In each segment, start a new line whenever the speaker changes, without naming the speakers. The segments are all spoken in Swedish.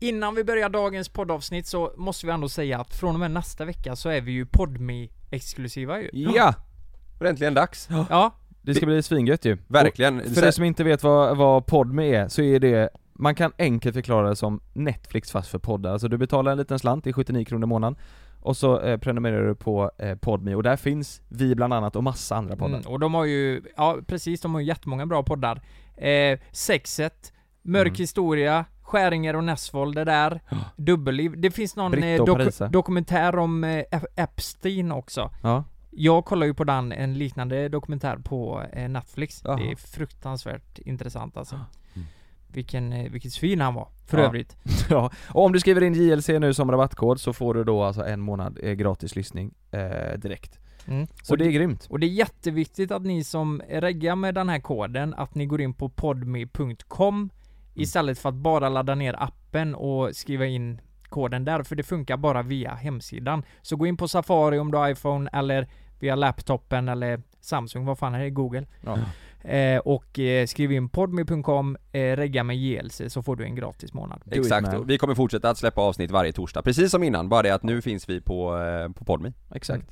Innan vi börjar dagens poddavsnitt så måste vi ändå säga att från och med nästa vecka så är vi ju podmi exklusiva ju.
Ja! Och det är äntligen dags.
Ja,
Det ska bli svingött ju.
Verkligen.
Och För er som inte vet vad, vad Podme är, så är det man kan enkelt förklara det som Netflix fast för poddar, alltså du betalar en liten slant, det är 79 kronor i månaden Och så eh, prenumererar du på eh, Podme och där finns vi bland annat och massa andra poddar
Mm, och de har ju, ja precis, de har ju jättemånga bra poddar. Eh, sexet, Mörk
Mm.
historia, Skäringer och Nessvold det där, Dubbelliv. Det finns någon
Britta
eh,
och
doku-
Parisa.
dokumentär om eh, Ep- Epstein också.
Ja,
Jag kollar ju på den, en liknande dokumentär på eh, Netflix.
Jaha. Ah.
Det är fruktansvärt intressant alltså.
Mm.
Vilken, eh, vilket svin han var, för
Ja.
övrigt.
ja. Och om du skriver in JLC nu som rabattkod så får du då alltså en månad eh, gratis lyssning eh, direkt
Mm.
Så det är grymt
Och det är jätteviktigt att ni som reggar med den här koden, att ni går in på podme.com istället för att bara ladda ner appen och skriva in koden där, för det funkar bara via hemsidan. Så gå in på Safari om du har iPhone eller via laptopen eller Samsung, vad fan är det? Google.
ja.
Eh, och eh, skriv in podme.com, eh, regga med JLC så får du en gratis månad.
it,
Exakt,
man.
och vi kommer fortsätta att släppa avsnitt varje torsdag, precis som innan, bara det att nu finns vi på, eh, på Podmi.
Exakt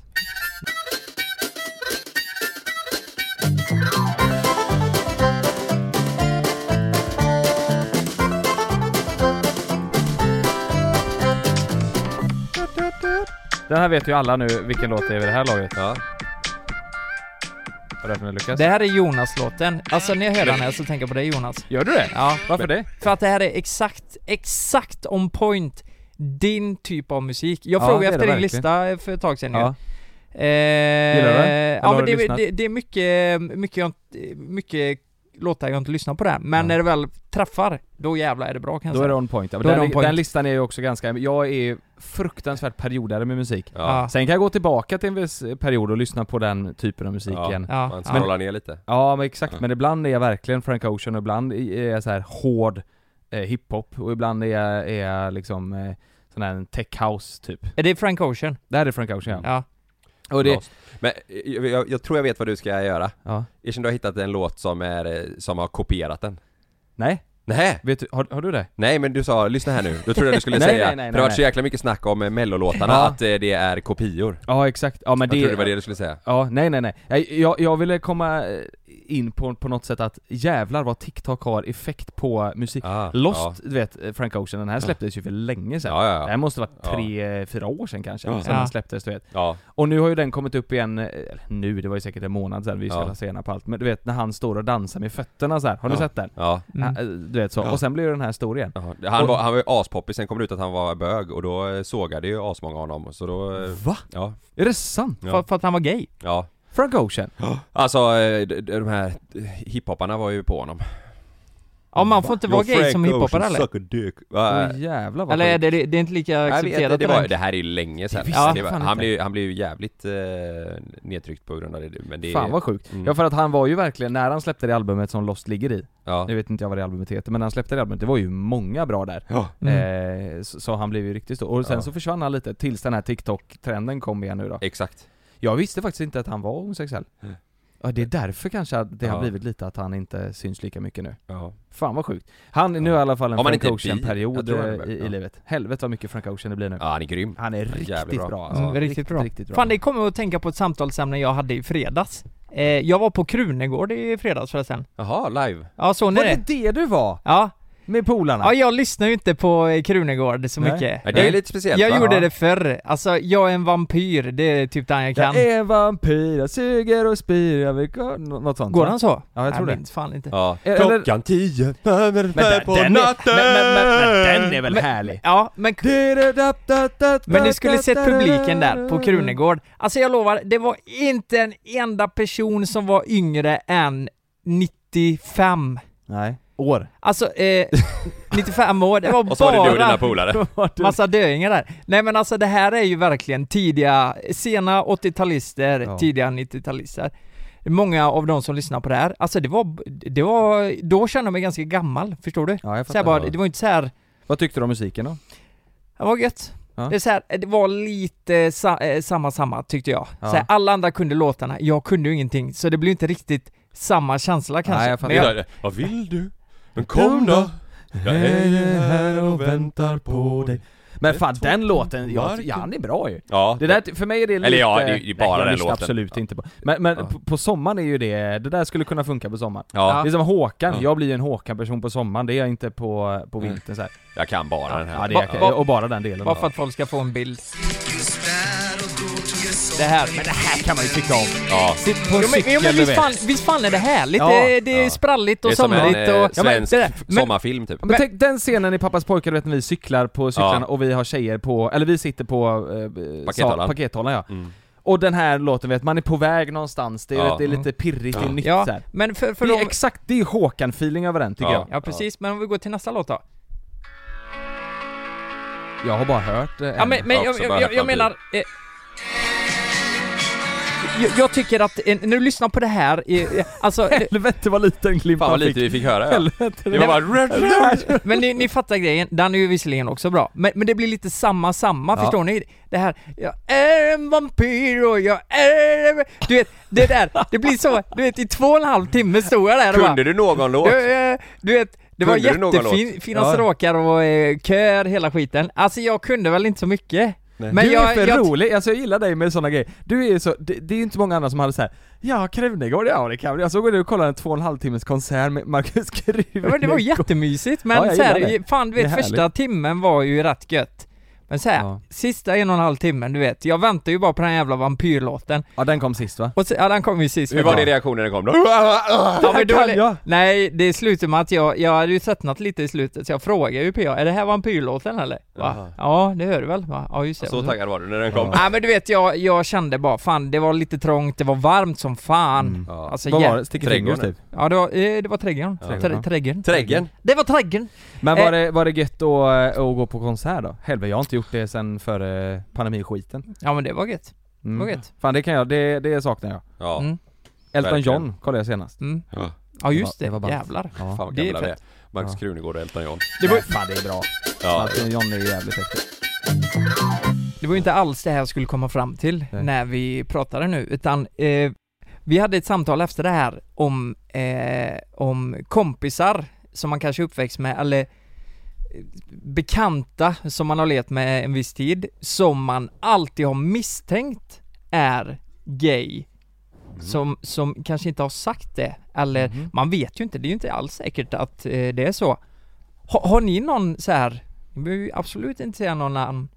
Den här vet ju alla nu vilken låt det är vid det här laget
Ja.
Vad är det för Lukas?
Det här är Jonas-låten. Alltså när jag hör den här så tänker jag på dig Jonas.
Gör du det?
Ja,
Varför det?
För att det här är exakt, exakt on point din typ av musik. Jag
Ja,
frågade
det är
efter din
det
lista för ett tag sedan ju.
Ja,
Eh,
Gillar du den? Eller
Ja
har
men
du
det,
lyssnat?
det, det är mycket, mycket, jag, inte- mycket låtar jag inte lyssnar på där. Men
Ja.
när det väl träffar, då jävlar är det bra kan jag
då är
säga.
det on point. Ja, men
Då är
den,
det on point.
den listan är ju också ganska, jag är ju fruktansvärt periodare med musik.
Ja.
Sen kan jag gå tillbaka till en viss period och lyssna på den typen av musik
Ja.
igen.
Ja,
Man
ja.
scrollar ner lite.
Ja men exakt,
Ja.
men ibland är jag verkligen Frank Ocean och ibland är jag så här hård eh, hiphop och ibland är jag, är jag liksom eh, sån här tech house typ.
Är det Frank Ocean?
Det här är Frank Ocean ja.
Ja.
Och det,
Lost. Men eh, jag, jag, jag tror jag vet vad du ska göra.
ja.
Erkänn du har hittat en låt som, är, eh, som har kopierat den.
Nej,
Nej,
vet du, har, har du det?
nej men du sa, lyssna här nu. Då trodde jag du skulle
Nej,
säga,
nej, nej,
för det har varit
nej.
så jäkla mycket snack om eh, mellolåtarna,
Ja.
att eh, det är kopior.
Ja exakt, ja men
Jag trodde det var det du skulle säga.
Ja, nej nej nej. Jag- Jag, jag ville komma eh, in på, på något sätt att jävlar vad TikTok har effekt på musik.
Ah, ja.
Lost, du vet eh, Frank Ocean, den här släpptes ju för länge sedan.
Ja, ja, ja.
Det här måste varit
Ja.
tre, eh, fyra år sedan kanske,
Ja.
sedan den
Ja.
släpptes du vet.
Ja,
Och nu har ju den kommit upp igen, eh, eller nu, det var ju säkert en månad sedan, vi är så
Ja.
jävla sena på allt. Men du vet när han står och dansar med fötterna så här. har ni
Ja.
sett den?
ja.
Mm.
Ja, eh, Du vet så,
Ja.
och sen blir ju den här stor igen.
ja. Han,
Och-
var, han var ju aspoppis, sen kom det ut att han var bög och då eh, sågade ju asmånga honom, så då... eh,
Va?
Ja,
Är det sant?
Ja.
För, för att han var gay?
ja.
Frank Ocean?
Alltså, eh, d- d- de här hiphopparna var ju på honom.
Ja man får inte vara gay som hiphopare eller?
Va?
Åh jävlar vad
Eller är
sjukt.
det, det är inte lika
Jag vet inte,
accepterat
det,
i den-
var, det här är ju länge sedan.
Det visste
Ja,
jag
var-
fan
han,
inte.
blev, ju- han blev ju jävligt eh, nedtryckt på grund av det, men det...
Fan vad sjukt.
Mm.
Ja för att han var ju verkligen, när han släppte det albumet som Lost ligger i,
ja.
nu vet inte jag vad det albumet heter, men när han släppte det albumet, det var ju många bra där.
Ja.
Mm.
Eh, så, så han blev ju riktigt stor. Och sen
Ja.
så försvann han lite tills den här TikTok-trenden kom igen nu då.
Exakt.
Jag visste faktiskt inte att han var homosexuell.
Mm.
Ja, det är därför kanske att det
Ja.
har blivit lite att han inte syns lika mycket nu.
Ja.
Fan vad sjukt. Han är nu
Ja.
i alla fall en
Om han
Frank
inte är bi. Jag
Ocean-period
tror han är
eh,
bi,
i,
ja.
i livet. Helvete vad mycket Frank Ocean det blir nu.
ja, han är grym.
Han är
jävligt
riktigt
bra.
bra.
Ja.
alltså.
Mm, riktigt bra.
Riktigt bra.
Fan det kommer att tänka på ett samtalsämne jag hade i fredags. Eh, jag var på Krunegård i fredags förresten.
Jaha, live.
Ja såg ni
var
det?
det det du var?
Ja,
Med polarna?
ja jag lyssnar ju inte på eh, Krunegård så
Nej.
mycket.
Men det är
Jag-
lite speciellt
jag
va?
gjorde
Ja.
det förr, alltså jag är en vampyr, det är typ den jag kan.
Jag är vampyr, jag Eh, suger och spyr, jag vill gå... Nå- Något sånt
Går
va?
han så?
Ja, jag tror det.
minns fan inte.
Ja.
Eller-
Klockan tio,
Men
på
den är-
natten!
men- men- men- men den är väl
Men-
härlig?
Ja, men, men ni skulle sett publiken där på Krunegård. Alltså jag lovar, det var inte en enda person som var yngre än 95.
Nej. År.
Alltså, eh, 95 år, det var
Och så var det du och dina
bara
polare.
massa döingar där. Nej men alltså det här är ju verkligen tidiga, sena 80-talister,
Ja.
tidiga 90-talister. Många av de som lyssnar på det här, alltså det var, det var, då kände jag mig ganska gammal, förstår du?
Ja, jag
Så här
fattar.
bara,
ja.
det var inte så här
Vad tyckte du om musiken då?
Det var gött.
Ja.
Det, är så här, det var lite sa, eh, samma samma tyckte jag.
Ja.
Så här, alla andra kunde låtarna, jag kunde ju ingenting. Så det blev inte riktigt samma känsla kanske.
jag fattar.
Men jag,
Vad vill du? Men
kom då.
Jag är här och väntar
på dig Men fan den låten, ja, ja den är bra ju
Ja,
det där, för mig är det lite...
Eller ja, det är ju bara
Nej, jag
den
lyssnar
låten.
absolut inte på Men, men
Ja.
på, på sommaren är ju det, det där skulle kunna funka på sommaren
ja,
Det är som Håkan,
Ja.
jag blir ju en Håkan-person på sommaren, det är jag inte på, på vintern så här.
jag kan bara den
Ja,
här.
det
Va-
är, jag.
va-
och bara den delen
Bara för att folk ska få en bild.
Just där och då tog jag
Det här, men det här kan man ju tycka om.
Ja.
Sitt på en
Jo, men-
cykel,
jo, men
du
visst
vet.
fan-
visst fan är det härligt?
Ja.
det, är- det är
Ja.
spralligt och
Det är som en
somrigt och...
eh,
Ja, men
svensk
det där.
f-
Men-
sommarfilm typ.
Men tänk den scenen i Pappas pojkar, du vet när vi cyklar på cyklarna
Ja.
och vi har tjejer på, eller vi sitter på eh,
Pakethållaren.
sal- pakethållaren ja.
Mm.
Och den här låten vet, man är på väg någonstans, det är,
Ja.
vet, det är
Mm.
lite pirrigt, det är nytt
Ja,
så här.
men för, för
Det är
de...
exakt, det är Håkan-feeling över den tycker
Ja.
jag
Ja precis, men om vi går till nästa låt då.
Jag har bara hört eh,
Ja
en.
men, men
Ja,
jag,
så
jag,
börjar
jag, jag
man bli-
menar... Eh, jag, jag tycker att, eh, när du lyssnar på det här, eh, eh, alltså... eh,
Helvete vad liten glimt
Fan vad
man fick.
lite vi fick höra ja.
Helvete.
Det var bara...
Men ni, ni fattar grejen, den är ju visserligen också bra, men, men det blir lite samma samma,
Ja.
förstår ni? Det här, jag är en vampyr och jag är... en-" Du vet, det där, det blir så, du vet i två och en halv timme stod jag där och bara,
Kunde du någon låt?
du, eh, du vet, det var
Kunde du någon
jättefina
Ja.
stråkar och eh, köer, hela skiten. Alltså jag kunde väl inte så mycket. Men
du
jag,
är för
jag,
rolig, alltså jag gillar dig med sådana grejer. Du är ju så, det, det är ju inte många andra som hade så här. ja Krunegård, ja det kan vi. Jag såg du och kollade en två och en halv timmes konsert med Marcus
Ja,
Krunegård.
men det var jättemysigt men
Ja, jag
så här,
gillar det.
fan du vet
Det är
första timmen var ju rätt gött. Men så här,
Ja.
sista en och en halv timmen du vet, jag väntar ju bara på den jävla vampyrlåten.
Ja den kom sist va?
Och så, ja den kom ju sist.
Hur var din reaktion när den kom då?
Ja, men
Det här
då-
kan jag.
Nej, det slutade med att jag, jag hade ju tröttnat lite i slutet så jag frågade ju PA, är det här vampyrlåten eller? Va?
Jaha. Alltså,
Ja, det hör du väl? Va? Ja just det.
Så
Och
taggad var du när den kom?
Ja men du vet, jag, jag kände bara fan, det var lite trångt, det var varmt som fan.
Mm.
Ja.
Alltså,
Vad
jä-
var det? Sticker fingers
Trädgården.
typ?
Ja det var, eh, det var trädgården.
Trädgården,
Trä-
ja.
Trädgården.
Trädgen?
Det var trädgården!
Men var, det, var det gött att, eh, att gå på konsert då? Helvete, jag har inte gjort det sen före pandemiskiten.
Ja men det var gött.
Mm.
Det var gött.
Fan det kan jag, det, det saknar jag.
Ja.
Mm.
Elton
Verkligen.
John kollade jag senast.
Mm.
Ja.
Ja
Det
just det,
var- det var bara-
jävlar.
Ja.
Fan vad
Det är
gamla vi är.
fett.
Max
Ja.
Krunegård och Elton John.
Det var-
Nej, fan det är bra.
Ja.
Elton John är jävligt häftig.
Det var ju inte alls det här jag skulle komma fram till
Nej.
när vi pratade nu, utan eh, vi hade ett samtal efter det här om, eh, om kompisar som man kanske är uppväxt med, eller eh, bekanta som man har levt med en viss tid, som man alltid har misstänkt är gay. Som, som kanske inte har sagt det, eller
Mhm.
man vet ju inte, det är ju inte alls säkert att eh, det är så. Ha, har ni någon så här, ni behöver ju absolut inte säga någon namn,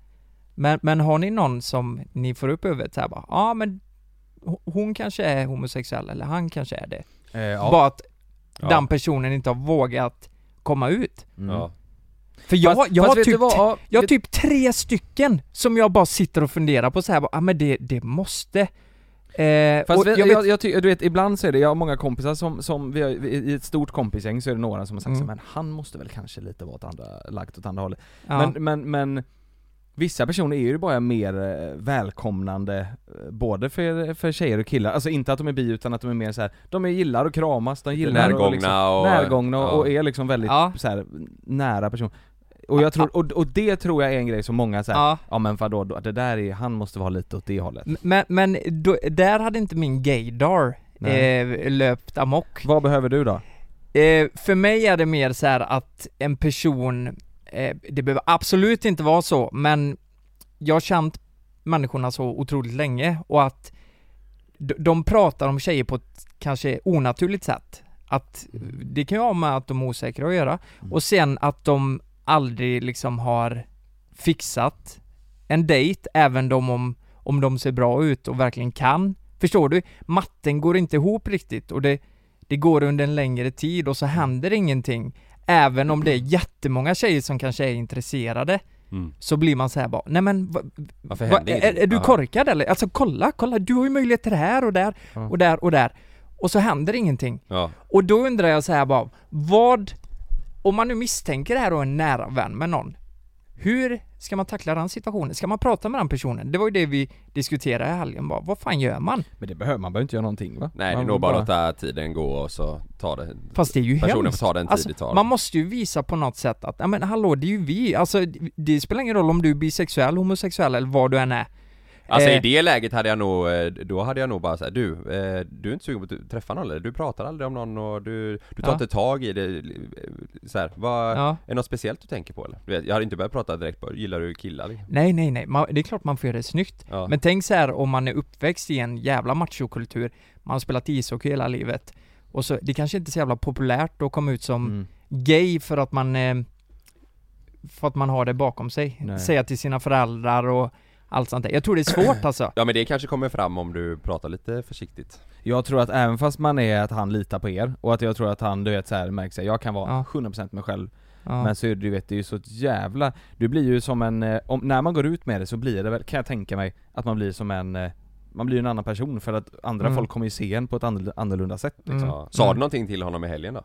men, men har ni någon som ni får upp huvudet så här bara, ja ah, men ho- hon kanske är homosexuell eller han kanske är det.
Eh, ja.
Bara att
Ja.
den personen inte har vågat komma ut.
Mm.
Ja.
För jag,
Fast-
jag,
fast
har
vet du
typ,
vad? Ja,
jag har
vet-
typ tre stycken som jag bara sitter och funderar på så här bara, ah, men det, det måste. Eh,
Fast
och jag
vet, jag,
vet,
jag, ty- du vet, ibland så är det, jag har många kompisar som, som vi har, vi- i ett stort kompisgäng så är det några som har sagt
Mm.
så, men han måste väl kanske lite vara åt andra, lagt åt andra hållet.
ja.
Men, men, men vissa personer är ju bara mer eh, välkomnande, eh, både för, för tjejer och killar. Alltså inte att de är bi utan att de är mer så här, de är, gillar att kramas, de gillar
Närgångna
och, liksom,
och-
närgångna och,
ja.
och är liksom väldigt
Ja.
så här, nära person. Och, jag tror, och, och det tror jag är en grej som många säger. Ja.
ja.
ja men vadå, då- det där är, han måste vara lite åt det hållet.
Men, men då, där hade inte min gaydar
Nej.
eh, löpt amok.
Vad behöver du då?
Eh, för mig är det mer så här att en person, eh, det behöver absolut inte vara så, men jag har känt människorna så otroligt länge och att d- de pratar om tjejer på ett kanske onaturligt sätt. Att det kan ju ha med att de är osäkra att göra. Och sen att de aldrig liksom har fixat en dejt, även de om, om de ser bra ut och verkligen kan. Förstår du? Matten går inte ihop riktigt och det, det går under en längre tid och så
Mm.
händer ingenting. Även om det är jättemånga tjejer som kanske är intresserade
Mm.
så blir man så här bara, nej men va,
Varför
va,
hände
är, är du
Ja.
korkad eller? Alltså kolla, kolla, du har ju möjlighet till det här och där
Ja.
och där och där. Och så händer ingenting.
Ja.
Och då undrar jag så här bara, vad, om man nu misstänker det här och är en nära vän med någon, hur ska man tackla den situationen? Ska man prata med den personen? Det var ju det vi diskuterade i helgen bara, vad fan gör man?
Men det behöver, man behöver inte göra någonting va?
Nej det är
man
nog bara att låta tiden gå och så ta det.
Fast det är ju
Personen får
hemskt.
ta den tid det tar.
man måste ju visa på något sätt att, ja men hallå det är ju vi, alltså det spelar ingen roll om du är bisexuell, homosexuell eller vad du än är.
Alltså
Eh.
i det läget hade jag nog, eh, då hade jag nog bara såhär, du, eh, du är inte sugen på att träffa någon eller? Du pratar aldrig om någon och du, du tar
Ja.
inte tag i det, eh, så här, vad,
Ja.
är det något speciellt du tänker på eller? Du vet, jag hade inte börjat prata direkt på, gillar du killar? liksom?
Nej, nej, nej. Man, det är klart man får göra det snyggt.
Ja.
Men tänk så här om man är uppväxt i en jävla machokultur, man har spelat ishockey hela livet, och så, det kanske inte är så jävla populärt att komma ut som
Mm.
gay för att man eh, för att man har det bakom sig.
Nej.
Säga till sina föräldrar och allt sånt där. Jag tror det är svårt alltså.
ja men det kanske kommer fram om du pratar lite försiktigt.
Jag tror att även fast man är att han litar på er och att jag tror att han du vet så här märks att jag kan vara
Ja.
100% mig själv
Ja.
Men så är det, du vet, det är ju så ett jävla, du blir ju som en, eh, om, när man går ut med det så blir det väl, kan jag tänka mig, att man blir som en, eh, man blir ju en annan person för att andra
Mm.
folk kommer ju se en på ett annorl- annorlunda sätt liksom.
Mm.
Ja. Sa
Mm.
du någonting till honom i helgen då?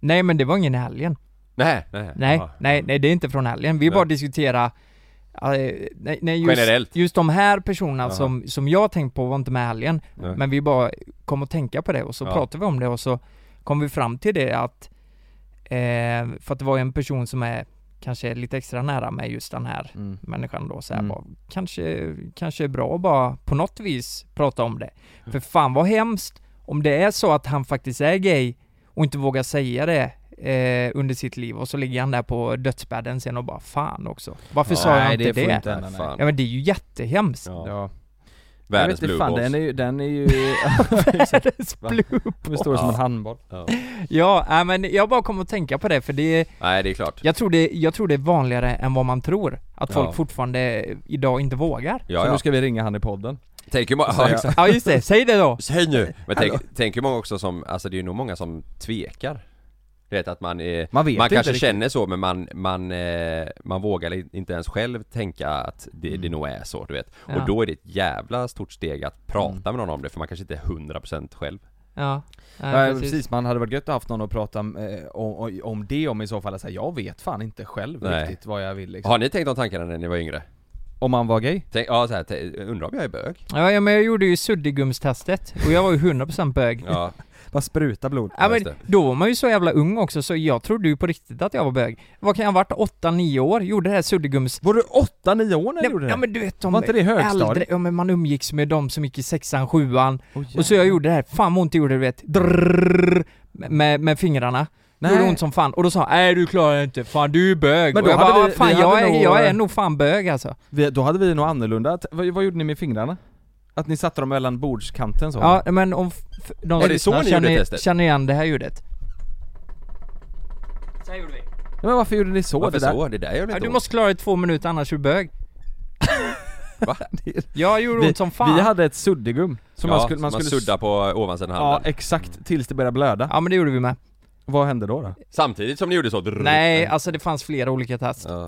Nej men det var ingen i helgen.
Nej, nej.
Nej,
Ja.
nej, nej det är inte från helgen. Vi
Nej.
bara diskutera eh, nej, nej, just,
Generellt?
just de här personerna
Jaha.
som, som jag tänkt på var inte med i helgen.
Nej.
Men vi bara kom att tänka på det och så
Ja.
pratade vi om det och så kom vi fram till det att eh, För att det var en person som är kanske lite extra nära med just den här
Mm.
människan då så här,
Mm.
bara, kanske, kanske är bra att bara på något vis prata om det.
Mm.
För fan vad hemskt om det är så att han faktiskt är gay och inte vågar säga det eh, under sitt liv och så ligger han där på dödsbädden sen och bara fan också. Varför sa jag
Nej,
inte det?
får inte hända,
Nej,
nej.
fan.
Ja men det är ju jättehemskt.
Ja.
Ja. Jag
Världens
vet inte
blue
fan,
balls.
den är ju, den är ju,
Världens blue
den står som en
Ja.
handboll.
ja.
Ja, nej, men jag bara kom att tänka på det för det,
Nej det är klart.
jag tror det, jag tror det är vanligare än vad man tror. Att folk
Ja.
fortfarande idag inte vågar.
Ja,
så
ja.
nu ska vi ringa han i podden.
Tänk hur många,
säga-
ja, exakt.
Ja just det, säg det då!
Säg nu! Men tänk, tänk hur många också som, alltså det är ju nog många som tvekar Du vet att man är,
Man vet
man
inte
kanske
riktigt.
känner så men man, man, eh, man vågar li- inte ens själv tänka att det, det
Mm.
nog är så du vet
Ja.
Och då är det ett jävla stort steg att prata
Mm.
med någon om det för man kanske inte är 100% själv
Ja, nej,
Ja, precis. man hade varit gött att haft någon att prata eh, om, om det om i så fall, så här, jag vet fan inte själv
Nej.
riktigt vad jag vill liksom.
Har ni tänkt de tankarna när ni var yngre?
Om man var gay?
Tänk, ja, så här, t- undrar om jag är bög?
Ja, ja men jag gjorde ju suddigumstestet och jag var ju 100% bög. Ja.
Ja,
Bara spruta blod.
Ja,
men
just det.
då var man ju så jävla ung också så jag trodde ju på riktigt att jag var bög. Vad kan jag ha varit? 8-9 år? Gjorde det här suddigums...
Var du 8-9 år när du
Ja,
gjorde det?
ja men du vet de
Var inte det högstadiet?
äldre, ja men man umgicks med de som gick i sexan, sjuan
Åh,
och så jag gjorde det här, fan vad ont det gjorde du vet, drrrr, med, med fingrarna. Det gjorde
Nej.
ont som fan och då sa han 'Nej du klarar det inte, fan du är bög' men
Men då
då och jag
hade
bara,
vi-
"Ah, fan
vi hade
jag, är,
nog-
jag är nog fan bög alltså.
Vi, då hade vi nog annorlunda, T- vad, vad gjorde ni med fingrarna? Att ni satte dem mellan bordskanten så?
Ja men om f- de
Är det så
lyssnar
ni gjorde
känner,
testet?
känner igen det här ljudet. Så här gjorde vi.
Ja, Men varför gjorde ni så?
varför
det där?
så? Det där gör väl
Ja,
inte
du
ont?
måste klara det i två minuter annars är du bög.
Va?
Jag gjorde ont som fan.
Vi hade ett suddigum som
ja,
man skulle... Man skulle
sudda på ovansidan
Ja
handen
exakt, tills det började blöda.
Ja men det gjorde vi med.
Vad hände då? då?
Samtidigt som ni gjorde så drrrr.
Nej, alltså det fanns flera olika test.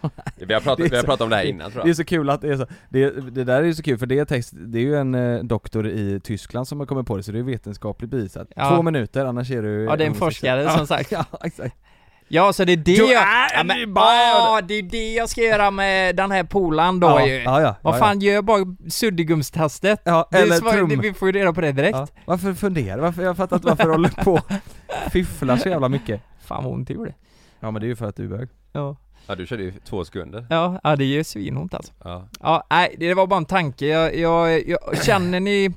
Ja. Vi har pratat,
Det är
vi har
så-
pratat om det här innan tror
Det är
jag
så kul att det är så, det, det där är ju så kul för det är text, det är ju en eh, doktor i Tyskland som har kommit på det så det är vetenskapligt bevisat.
Ja.
Två minuter annars är du
Ja det är en
homosexuell.
forskare som sagt.
Ja exakt.
Ja så det är det
Du
jag...
är
ja,
en
men,
bög.
åh, det är det jag ska göra med den här polaren då
ja,
ju.
ja, ja,
Vad
ja,
fan, gör bara suddigumstestet.
Ja,
Det är
eller
svar-
trum.
det- Vi får ju reda på det direkt.
Ja. Varför funderar? Varför, jag fattar inte varför du håller på och fifflar så jävla mycket.
Fan vad ont det gjorde.
Ja men det är ju för att du är bög.
Ja.
Ja du körde ju två sekunder
Ja, ja, det gör svinont alltså.
Ja.
Ja, nej, det var bara en tanke. Jag, jag, jag känner ni...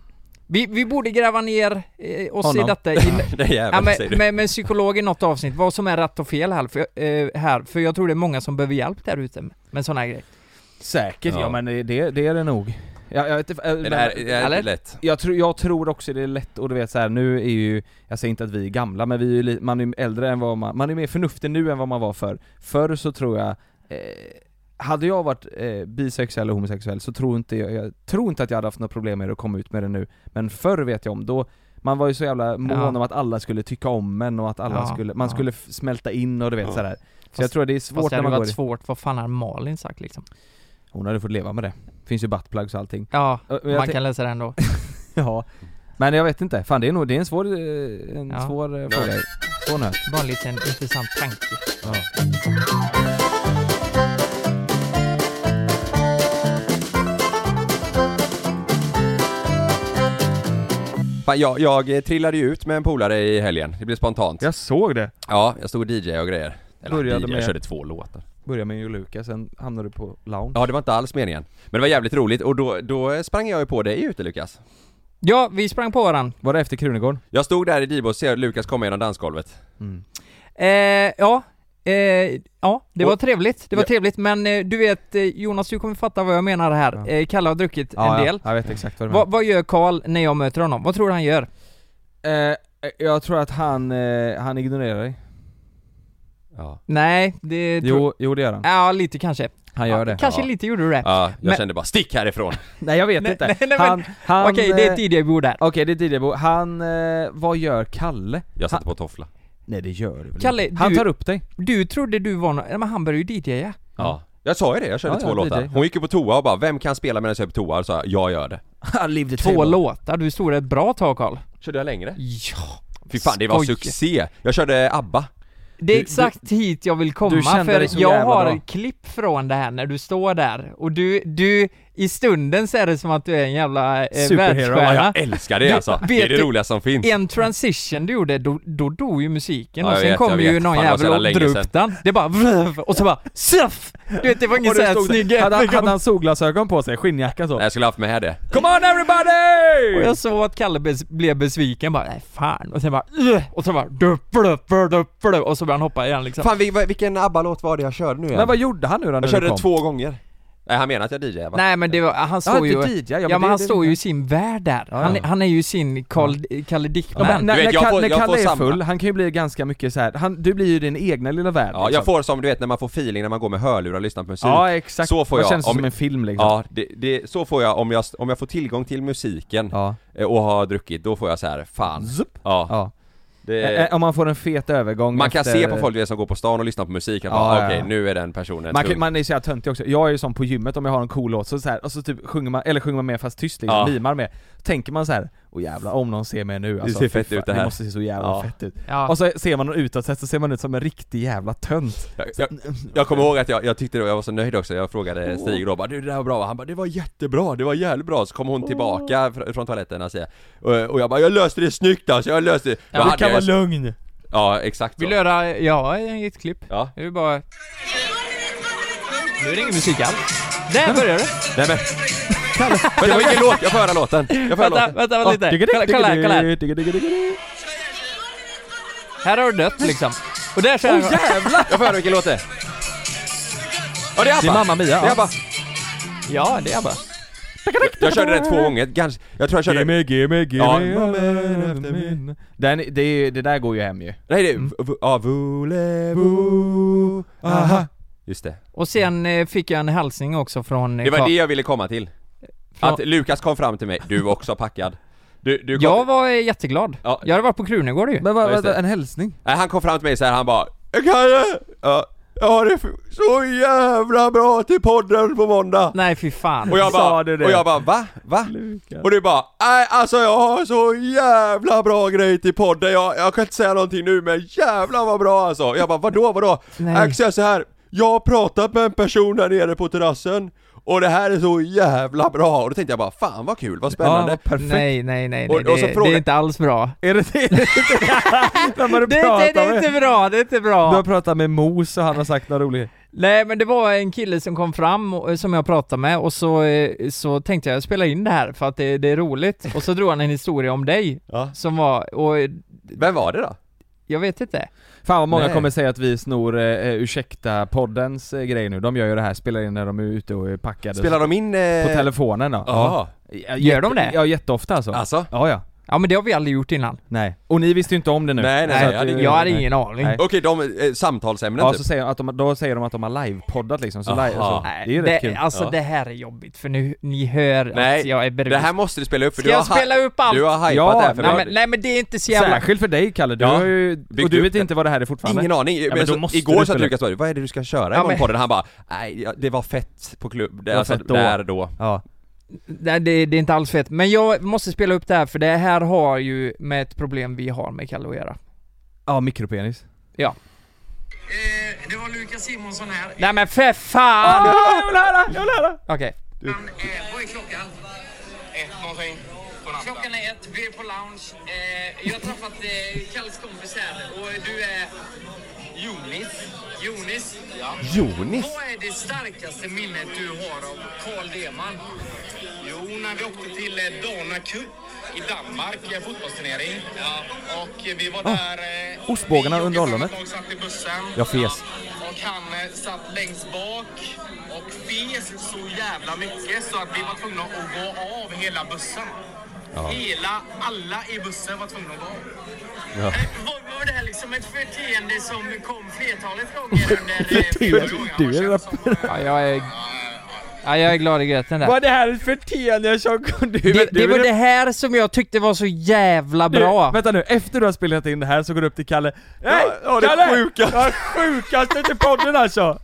Vi, vi borde gräva ner eh, oss
Honom.
i detta i,
Det är jävlar,
Ja, men,
säger du.
men, men psykolog i något avsnitt, vad som är rätt och fel här, för, eh, här, för jag tror det är många som behöver hjälp där ute med sådana här grejer.
Säkert, ja,
Ja.
men det, det är det nog. Ja, jag, vet, inte, äh,
det här,
men-
det här är
eller?
inte lätt.
jag, tror, jag tror också det är lätt, och du vet så här, nu är ju, jag säger inte att vi är gamla, men vi är ju, li- man är ju äldre än vad man, man är mer förnuftig nu än vad man var förr. Förr så tror jag, eh, hade jag varit eh, bisexuell och homosexuell så tror inte jag, jag tror inte att jag hade haft något problem med att komma ut med det nu. Men förr vet jag om, då man var ju så jävla mån
Ja.
om att alla skulle tycka om en och att alla
Ja,
skulle, man
ja.
skulle f- smälta in och du vet
Ja.
så här. Så jag
Fast-
tror det är
Fast
svårt
det hade
när man går
varit
i-
svårt, vad fan har Malin sagt liksom?
Hon hade fått leva med det. Finns ju buttplugs och allting.
Ja,
Och- och jag
man
tänk-
kan läsa det ändå.
Ja. Men jag vet inte, fan det är nog, det är en svår, eh, en
Ja.
svår eh, fråga. Svår nöt.
Bara en liten intressant tanke.
Ja.
Fan, jag, jag eh, trillade ju ut med en polare i helgen, det blev spontant.
Jag såg det.
Ja, jag stod och DJ och grejer. Eller
Började
DJ,
med-
jag körde två låtar.
börjar med Joluka, sen hamnar du på lounge.
Ja det var inte alls meningen. Men det var jävligt roligt och då, då sprang jag ju på dig ute Lukas.
Ja, vi sprang på varann.
Var det efter Krunegården?
Jag stod där i Dibbo och ser Lukas komma genom dansgolvet.
Mm.
Eh, ja, eh, ja, det var
Och-
trevligt. Det var
Ja.
trevligt, men eh, du vet eh, Jonas, du kommer fatta vad jag menar här.
Ja.
Eh, Kalle har druckit
Ja,
en
ja,
del.
Jag vet exakt vad du menar.
Vad, vad gör Karl när jag möter honom? Vad tror du han gör?
Eh, jag tror att han, eh, han ignorerar dig.
Ja,
Nej, det tror
Jo, jo det gör han.
Ja, lite kanske.
Han gör
ja,
det.
Kanske
Ja.
lite gjorde du det.
ja jag
Men-
kände bara stick härifrån!
Nej jag vet
Nej,
inte.
nej, nej, men-
han, han,
Okej, det är ett
eh,
DJ-bord där.
Okej det är Didjebo. Han, eh, vad gör Kalle?
Jag satte på toffla.
Nej det gör du väl
Kalle,
inte. Han
du-
tar upp dig.
Du trodde du var någon... men han började ju DJa.
Ja. Jag sa ju det, jag körde
Ja,
två
ja, det är
låtar.
det.
Hon gick ju på toa och bara 'Vem kan spela medan jag är på toa?' Och sa jag, 'Jag gör det'
Han levde
Två låtar, du stod där ett bra tag Karl.
Körde jag längre?
Ja.
Fy fan det var
Skoj.
succé! Jag körde ABBA.
Det är
Du- du-
exakt hit jag vill
du
komma,
kände dig
för
så
jag
jävla
har
bra.
klipp från det här när du står där, och du, du, i stunden så är det som att du är en jävla eh,
Superhero,
Ja,
världsstjärna.
jag älskar det
Du-
alltså!
vet
Det är det
du-
roligaste som finns.
En transition du gjorde, då, då dog ju musiken
Ja,
och
jag
sen
vet,
kom
jag
ju
vet.
någon
Fan, det var så
jävel
jävla
och
länge
drog
sedan.
upp den. Det bara vrv, och så bara surf! Du vet, det var ingen
Och du
såhär
stod där.
snygg
Hade, hade han solglasögon på sig? Skinnjacka så?
Nej, jag skulle haft med det.
Come on
Och
everybody!
jag såg att Kalle bes- blev besviken bara, nej fan, och sen bara "Ugh!" och så bara duppelöppel, duppelöppel, och så började han hoppa igen liksom.
Fan vil- vilken ABBA-låt var det jag körde nu igen?
Men vad gjorde han nu då när
Jag
du
körde
kom?
det två gånger. Nej han menar att jag DJar va?
Nej men det var, han
Ja,
står ju...
inte DJ. Ja,
Ja men, han
det- det-
står ju i sin värld där,
Ja,
han,
ja.
han är ju sin Carl, Kalle
Ja,
Dickman
men, när,
Du vet,
när,
jag
Kalle-
får-
när
jag
Kalle
får
är
samma.
full, han kan ju bli ganska mycket så här. Han, du blir ju din egna lilla värld
Ja, jag
liksom.
får som du vet när man får feeling när man går med hörlurar och lyssnar på musik.
Ja exakt,
Så får
Man
jag,
känns
om-
som en film liksom
Ja, det, det, så får jag om, jag om jag får tillgång till musiken
Ja,
eh, och har druckit, då får jag så här fan.
Zup.
Ja,
ja.
det,
Eh, eh, Om man får en fet övergång
man kan
efter...
se på folk du vet, som går på stan och lyssnar på musik, att
Ja,
bara,
ja,
okej
ja.
nu är den personen
man,
tung.
kan, man är ju så jävla töntig också, jag är ju sån på gymmet om jag har en cool låt, så, så här, och så typ sjunger man, eller sjunger man med fast tyst liksom,
Ja.
limar med Tänker man så här, åh jävlar om någon ser mig nu alltså,
ser
fy
fett
fan,
ut det här."
måste se så jävla
Ja.
fett ut
Ja.
Och så ser man någon utåt sett så ser man ut som en riktig jävla tönt
jag, jag, jag kommer ihåg att jag, jag tyckte det, jag var så nöjd också, jag frågade Stig då bara du det där var bra va?" Han bara det var jättebra, det var jävligt bra, så kom hon tillbaka fr- från toaletten och, säger, och, och jag bara jag löste det snyggt alltså, jag löste det. Då hade jag-
lugn!
Ja, exakt
Vill
så.
du höra, ja, ett klipp.
Ja.
Det är bara... Nu är det ingen musik alls. Där börjar det!
Nej men, men det var ingen låt, jag får höra låten. Jag får höra
Vänta,
låten.
vänta, vänta lite. Kolla, kolla här, kolla här. Här har du dött liksom. Och där kör jag.
Jävlar! Jag får höra vilken låt det är. Ja det är ABBA!
Det är Mamma Mia,
Det är
ja.
ABBA.
Ja, det är bara.
Jag körde den två gånger, ganska, jag tror jag körde
Gimme, gimme, gimme
Ja.
Den, det, är ju- det där går ju hem ju
Nej det är, v- ja, voulez-vous, aha. Just det.
Och sen eh, fick jag en hälsning också från... eh,
Det var
Karl-
det jag ville komma till.
från
Att Lukas kom fram till mig, du var också packad. Du, du kom,
jag var eh, jätteglad.
Ja.
Jag hade varit på Krunegård ju.
Men
Ja,
vad,
just
vad,
det.
en hälsning?
Nej han kom fram till mig så här, han bara Kalle! Ja, jag har det f- så jävla bra till podden på måndag!
Nej, fy fan.
Och jag bara,
Sa du det?
och jag bara va? Va?
Lukas.
Och du bara, nej alltså jag har så jävla bra grej till podden, jag, jag kan inte säga någonting nu men jävlar vad bra alltså! Och Jag bara, vadå vadå?
Nej.
Jag kan säga så här, jag har pratat med en person där nere på terrassen och det här är så jävla bra! Och då tänkte jag bara, fan vad kul, vad
Ja,
spännande!
vad perfekt!
Nej, nej, nej, nej.
Och- och så
det,
fråga-
det är inte alls bra.
Är det det? När man
Det är, inte, det är
med-
inte bra, det är inte bra.
Du har pratat med Mos och han har sagt några roliga
Nej men det var en kille som kom fram och, eh, som jag pratade med och så, eh, så tänkte jag spela in det här för att det, det är roligt och så drog han en historia om dig
Ja.
som var, och eh,
Vem var det då?
jag vet inte.
Fan vad många
Nej.
kommer säga att vi snor eh, Ursäkta-poddens eh, grej nu, de gör ju det här, spelar in när de är ute och är packade
Spelar de in... Eh...
På telefonen då?
Jaha,
Ja,
Gör de det?
Ja jätteofta alltså.
alltså?
Ja ja,
Ja men det har vi aldrig gjort innan.
nej. Och ni visste ju inte om det nu?
Nej, nej, nej,
Så att,
jag hade
eh,
Jag hade ingen aning.
Nej.
Nej.
Okej, de, eh, samtalsämnen
Ja,
typ?
så säger de att de, då säger de att de har livepoddat liksom, så,
Aha.
live, så det är ju rätt kul.
Alltså
Ja.
det här är jobbigt för nu, ni hör att
Nej,
jag är
Det
berusad.
här måste du spela upp för
Ska
du
jag
har,
spela upp allt?
du har hypat
Ja,
det här för
Nej
mig.
men, nej men det är inte så jävla...
Särskilt för dig Kalle, du
Ja.
har ju, och
Byggt
du
upp
vet
det.
inte vad det här är fortfarande.
Ingen aning,
men
men
då
så,
måste du
igår sa
spela.
Lukas vad är det du ska köra
Ja,
imorgon
men-
på den? Han bara nej ja, det var fett på klubb, det,
var
alltså,
fett då."
där då
Ja.
Nej det, det är inte alls fett. Men jag måste spela upp det här för det här har ju med ett problem vi har med Kalle att göra.
ja, mikropenis.
Ja.
Eh, Det var Lukas Simonsson här.
Nej men för fan!
Ah, jag vill höra, jag vill höra!
Okej.
Han, eh, vad är klockan? Ett någonting. Klockan är ett, vi är på lounge. Eh, jag har träffat eh, Kalles kompis här och du är... Jonis. Jonis? Ja.
Jonis?
Vad är det starkaste minnet du har av Carl Deman? Jo, när vi åkte till eh, Dana Cup i Danmark, i en fotbollsturnering. Ja. Och eh, vi var där... eh,
ostbågarna
vi och
under
ett
ollonet.
annat lag satt i bussen.
Jag fes.
Ja. Och han eh, satt längst bak och fes så jävla mycket så att vi var tvungna att gå av hela bussen. Hela, alla i bussen var tvungna att gå av.
Ja.
Eh, Var, var det här liksom ett förteende som kom flertalet gånger under eh,
Du är-
fyra gånger?
du är
Jag har känt som,
Ja,
eh,
jag är... Ja, jag är glad i gröten där.
Vad är det här för teende som du,
Det, det var det här som jag tyckte var så jävla bra.
Du, vänta nu, efter du har spelat in det här så går du upp till Kalle Nej!
ja, det
Kalle!
sjukaste.
Ja, sjukaste till podden alltså!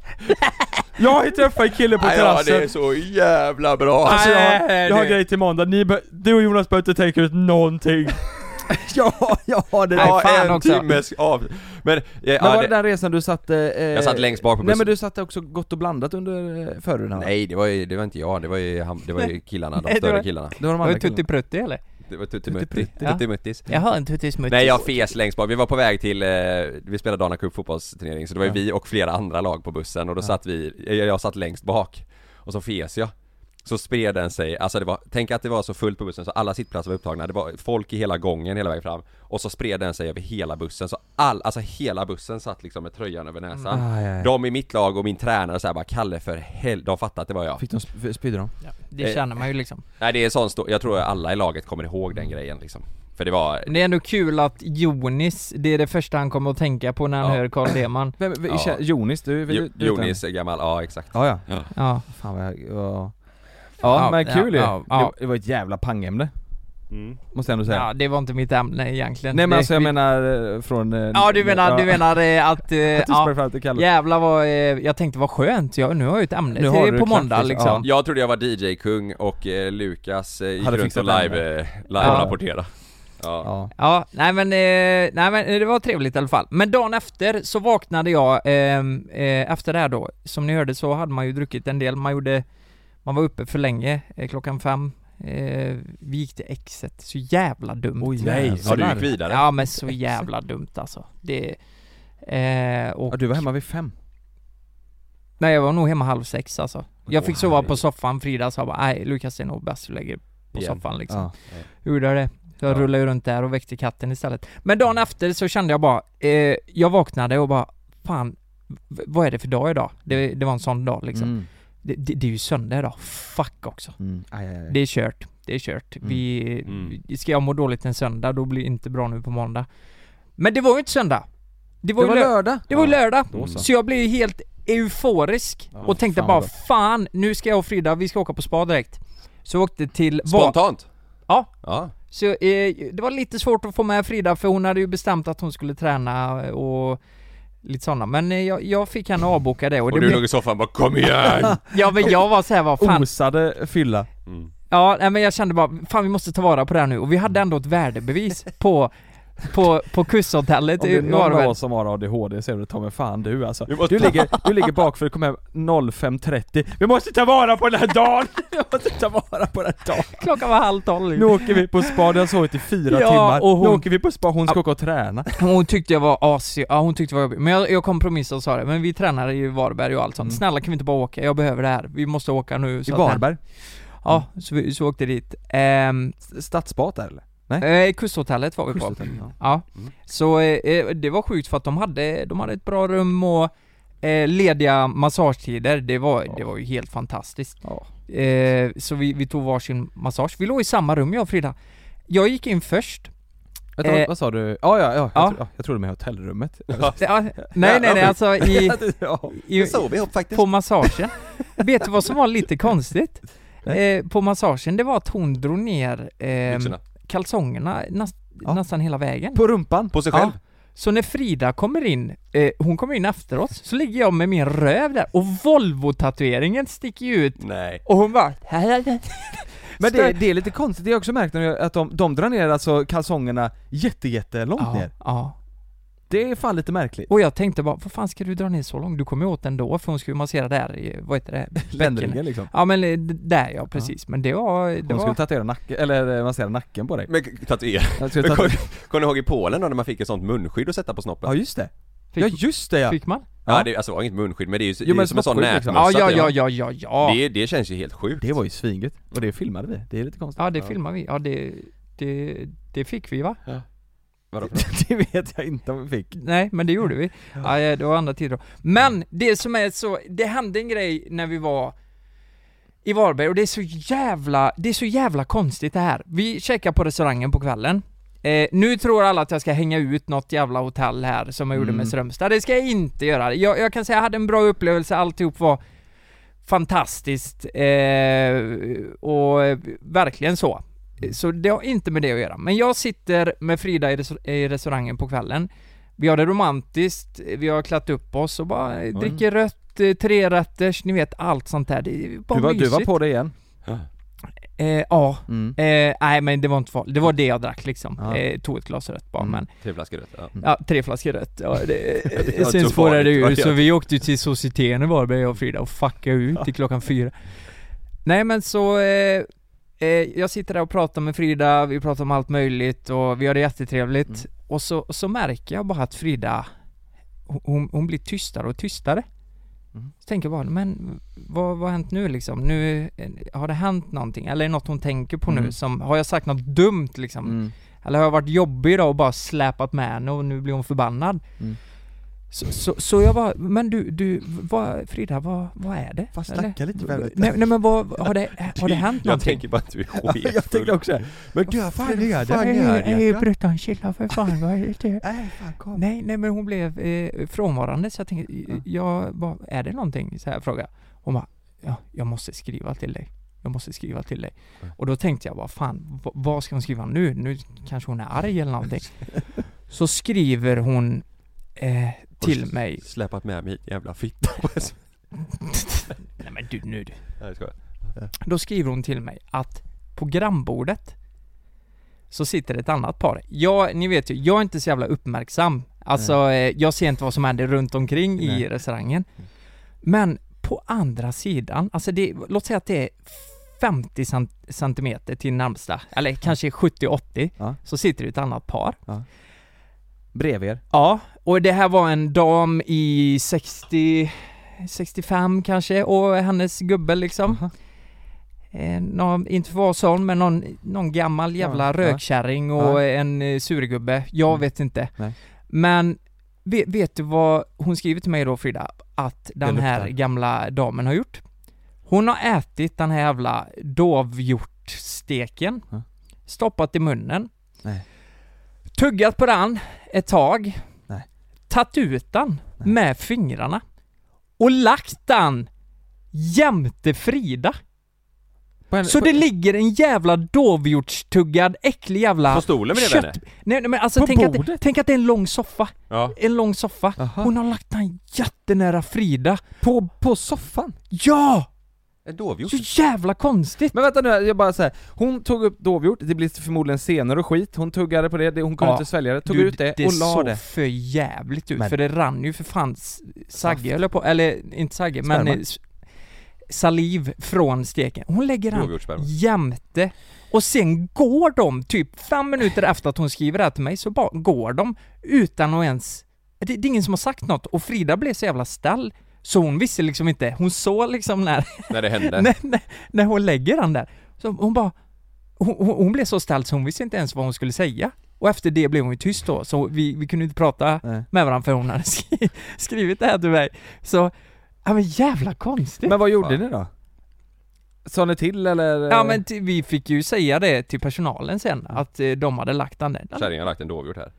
Jag har ju träffat en kille på
Nej, ja, det
terrassen
är så jävla bra!
Alltså jag,
Nej,
jag har
det-
grej till måndag, Ni bör, du och Jonas behöver inte tänka ut någonting Ja, ja det
Nej,
Ja,
fan
en
också.
timmes av... Men, eh,
Men
ja,
var det
det,
den resan du satt... Eh, jag
satt längst bak på
Nej
bussen.
men du satt också gott och blandat under eh, förhuden här va?
nej det var ju, det var inte jag, det var ju, han, det var ju killarna, de
Nej, det
större
var-
killarna
Det var de
Var
andra
det Tutti Prutti eller?
Det var Tuttimutti,
Tuttimutti.
Ja.
Tuttimuttis
Jaha, en Tutti Smutti.
Nej jag fes längst bak, vi var på väg till, eh, vi spelade Dana Cup fotbollsturnering så det var ju
Ja.
vi och flera andra lag på bussen och då satt vi, jag, jag satt längst bak Och så fes jag Så spred den sig, alltså det var, tänk att det var så fullt på bussen så alla sittplatser var upptagna, det var folk i hela gången hela vägen fram Och så spred den sig över hela bussen så all, alltså hela bussen satt liksom med tröjan över näsan
Ah, ja, ja.
De i mitt lag och min tränare såhär bara 'Kalle för hel... de fattade att det var jag'
Fick de, sp- spydde de?
Ja, Det känner man ju liksom.
Nej det är sån stor, jag tror alla i laget kommer ihåg den
Mm.
grejen liksom För det var,
Men det är ändå kul att Jonis, det är det första han kommer att tänka på när han
Ja.
hör Carl Deman.
Vem, vem,
Ja.
Jonis, du, du,
jo,
du
Jonis är gammal, ja exakt
Ja, ja.
Ja.
Fan vad jag... Ja,
Ja,
men kul ju.
ja, ja, ja.
Det, det var ett jävla pangemne. Måste jag ändå säga.
ja, det var inte mitt ämne egentligen.
Nej men
Det-
alltså jag menar eh, från... eh,
Ja du menar, du menar eh, att... eh,
Att du
ja,
sprang fram till Kalle.
jävlar vad... eh, Jag tänkte vad skönt, jag, nu har jag ju ett ämne
Nu har
till
du
på
klart
måndag
liksom.
liksom.
Jag trodde jag var DJ-kung och eh, Lukas eh, gick
Hade
runt
fixat
och
den,
live, eh, live
Ja.
rapportera ja.
Ja.
Ja, nej men, eh, nej men det var trevligt i alla fall. Men dagen efter så vaknade jag, ehm, eh, efter det här då, som ni hörde så hade man ju druckit en del, man gjorde, man var uppe för länge, eh, klockan fem, eh, vi gick till exet, så jävla dumt.
Oj,
Nej,
jävlar.
har du gick vidare?
ja men så jävla dumt alltså. Det, eh, och,
Ja, du var hemma vid fem.
nej jag var nog hemma halv sex alltså. Jag
Åh,
fick sova på
herregud.
soffan, Frida sa bara nej Lukas det är nog bäst du lägger på
Igen.
soffan liksom.
Ja.
Gjorde jag det. Så jag
Ja.
rullade ju runt där och väckte katten istället. Men dagen efter så kände jag bara, eh, jag vaknade och bara, fan, v- vad är det för dag idag? Det, det var en sån dag liksom.
Mm.
Det, det, det är ju söndag idag, fuck också.
Mm. Aj, aj, aj.
Det är kört, det är kört. Vi,
Mm.
vi- ska jag må dåligt en söndag, då blir det inte bra nu på måndag. Men det var ju inte söndag. Det var,
Det var
ju lö-
lördag.
det var ju lördag.
Då så.
Så jag blev ju helt euforisk
Ja,
och tänkte
fan
bara,
vad
fan, nu ska jag och Frida, vi ska åka på spa direkt. Så jag åkte till... Va-
Spontant?
Ja,
Ja,
så eh, det var lite svårt att få med Frida för hon hade ju bestämt att hon skulle träna och lite sådana. Men eh, jag, jag fick henne att avboka det och,
och,
det
du
blev,
låg i soffan och bara 'Kom igen!' Mm.
ja, men jag var såhär, vad fan.
Osade fylla.
Ja nej, men jag kände bara, fan vi måste ta vara på det här nu. Och vi hade ändå ett värdebevis på, på, på kusthotellet
Om det
i
är någon av
Varberg.
oss som har ADHD så är det ta mig fan du alltså.
Du måste-
Du ligger, du ligger bak för att komma hem 05.30. Vi måste ta vara på den här dagen! Vi måste ta vara på den här dagen!
Klockan var halv tolv.
Nu åker vi på spa, det har sovit i fyra
Ja,
timmar.
och
Nu
hon-
åker vi på spa, hon ska åka och träna.
Hon tyckte jag var asig, ja hon tyckte det var jobbigt. Men jag, jag kompromissade och sa det, men vi tränar i Varberg och allt sånt.
Mm.
Snälla kan vi inte bara åka? Jag behöver det här. Vi måste åka nu.
I
så att-
Varberg.
Ja, så vi så åkte dit. Ehm,
Stadsbad där eller?
Eh, kusthotellet var vi på.
Kusthotellet, ja.
Ja.
Mm.
Så eh, eh, det var sjukt för att de hade, de hade ett bra rum och eh, lediga massagetider. Det var,
Ja.
det var ju helt fantastiskt.
Ja.
Eh, så vi, vi tog varsin massage. Vi låg i samma rum jag och Frida. Jag gick in först.
Vänta, vad-
Eh,
vad sa du? Ja, ja, ja,
Ja.
Jag, tro, ja jag trodde med hotellrummet.
Ja, nej nej nej alltså i...
ja.
i
ihop faktiskt
på massagen. Vet du vad som var lite konstigt? Eh, på massagen, det var att hon drog ner eh,
Byxorna.
kalsongerna nas-
Ja.
nästan hela vägen.
På rumpan?
På sig själv?
Ja. Så när Frida kommer in, eh, hon kommer in efter oss, så ligger jag med min röv där och Volvo-tatueringen sticker ju ut
Nej
och hon bara
Men det, det är lite konstigt, det har jag också märkt när jag- att de, de drar ner alltså kalsongerna jätte, jätte långt
ja,
ner.
ja.
Det är fan lite märkligt.
Och jag tänkte bara, vad fan ska du dra ner så långt? Du kommer ju åt ändå för hon skulle massera där i, vad heter det?
Ländringen liksom.
Ja men eh, d- där ja, precis. Men det var... Det
Hon
var
skulle tatuera nacken, eller eh, massera nacken på dig.
Men tatuera,
Jag skulle
Men
tatuera.
kommer ni ihåg i Polen då när man fick ett sånt munskydd att sätta på snoppen?
Ja just det.
Fick,
Ja just det ja!
fick man?
Ja, det, alltså det var inget munskydd men det är ju det
Jo,
är
men
ju som en sån
snoppskydd
nätmössa
liksom.
Ja, ja,
det-
ja, ja, ja, ja.
Det, det känns ju helt sjukt
Det var ju svinget. Och det filmade vi, det är lite konstigt
Ja, det filmar vi. Ja, det, det, det fick vi va?
Vadå för
det vet jag inte om vi fick
Nej, men det gjorde vi. Ja. det var andra tider då. Men det som är så, det hände en grej när vi var i Varberg och det är så jävla, det är så jävla konstigt det här. Vi checkar på restaurangen på kvällen. Eh, nu tror alla att jag ska hänga ut något jävla hotell här som jag gjorde
Mm.
med Strömstad. Det ska jag inte göra. Jag, jag kan säga jag hade en bra upplevelse, alltihop var fantastiskt eh, och eh, verkligen så. Så det har inte med det att göra. Men jag sitter med Frida i, res- i restaurangen på kvällen. Vi har det romantiskt, vi har klätt upp oss och bara eh, dricker rött, eh, trerätters, ni vet allt sånt där. Det är bara
du var, du
mysigt.
var på det igen
Eh, ja.
mm.
Eh, nej men det var inte farligt, det var det jag drack liksom.
Ja.
Eh, tog ett glas rött bara
Mm.
men,
Tre flaskor rött, ja.
ja tre flaskor rött. Ja, det,
inte så
sen spårade det
farligt,
ur
vad
så
jag-
vi åkte ju till Societeten i Varberg jag och Frida och fuckade ut till klockan fyra. Nej men så, eh, eh, jag sitter där och pratar med Frida, vi pratar om allt möjligt och vi har det jättetrevligt.
Mm.
Och så, och så märker jag bara att Frida, hon- hon, hon blir tystare och tystare.
Mm.
Så tänker jag bara, men vad, vad har hänt nu liksom? Nu, eh, har det hänt någonting? Eller är det något hon tänker på nu
Mm.
som, har jag sagt något dumt liksom?
Mm.
Eller har jag varit jobbig idag och bara släpat med henne och nu blir hon förbannad?
Mm.
Så, så, så jag bara, men du, du, vad, Frida, vad, vad är det?
Fast
Eller?
snacka lite med mig.
Nej, nej men vad, har det, har det hänt
Jag
någonting?
tänker bara att du är sketfull
Jag tänkte också
Men du, vad fan gör det?
Fan,
Vad
jag
gör
är ju
jag?
bruttan, chilla för fan, vad är det?
Nej, fan kom.
Nej, nej men hon blev eh, frånvarande så jag tänkte, eh, jag bara, är det någonting? Så här frågade jag. Hon bara, ja, jag måste skriva till dig. Jag måste skriva till dig. Och då tänkte jag bara, fan, v- vad ska hon skriva nu? Nu kanske hon är arg eller någonting. Så skriver hon eh, till mig.
Släpat med mig jävla fitta på en sån-
Nej men du, nu du.
Nej, jag skojar.
Då skriver hon till mig att på grannbordet så sitter ett annat par. Jag, ni vet ju, jag är inte så jävla uppmärksam. Alltså, eh, jag ser inte vad som händer runt omkring i
Nej.
restaurangen.
Mm.
Men på andra sidan, alltså det, låt säga att det är 50 cent- centimeter till närmsta, eller kanske 70-80,
Ja.
så sitter det ett annat par.
Bredvid er
Ja, och det här var en dam i 60, 65 kanske och hennes gubbe liksom. Eh, någon, inte för att vara sån, men någon, någon gammal jävla
ja.
rökkärring och en eh, surgubbe. Jag
Mm.
vet inte.
Nej.
Men vet, vet du vad hon skriver till mig då Frida? Att den
Det
här
luktar.
gamla damen har gjort? Hon har ätit den här jävla dovhjortsteken,
Ja.
stoppat i munnen,
Nej.
tuggat på den ett tag,
Nej.
tagit ut den
Nej.
med fingrarna och lagt den jämte Frida.
På en-
Så
på-
det ligger en jävla dovhjortstuggad, äcklig jävla...
På stolen bredvid
Kött-
henne?
Nej, nej men alltså
På
tänk att, det-
bordet?
tänk att det är en lång soffa.
Ja
En lång soffa.
Aha.
Hon har lagt den jättenära Frida.
på, på soffan?
Ja!
En dovhjort?
Så jävla konstigt!
Men vänta nu, jag bara säger Hon tog upp dovhjort, det blir förmodligen senor och skit, hon tuggade på det, det hon kunde
Ja.
inte svälja det, tog
Du,
ut det,
det
och la
såg
det
för jävligt ut,
Men-
för det rann ju för fan s- sagge höll jag på, eller inte sagge, men
Sperma.
eh, s- saliv från steken. Hon lägger den
Dovhjortssperma?
jämte. Och sen går de, typ fem minuter efter att hon skriver det här till mig, så bara går de utan att ens... Det, det är ingen som har sagt något. Och Frida blev så jävla stall, så hon visste liksom inte. Hon såg liksom när,
När det hände?
när, när, när hon lägger den där. Så hon bara... Hon, hon hon blev så ställd så hon visste inte ens vad hon skulle säga. Och efter det blev hon ju tyst då, så vi, vi kunde inte prata
Nej.
med varandra för hon hade skri- skrivit det här till mig. Så, ja men jävla konstigt.
Men vad gjorde
Fan.
ni då? Sa ni till eller?
Ja men ty- vi fick ju säga det till personalen sen, att eh, de hade lagt den där.
Kärringen har lagt en dovhjort här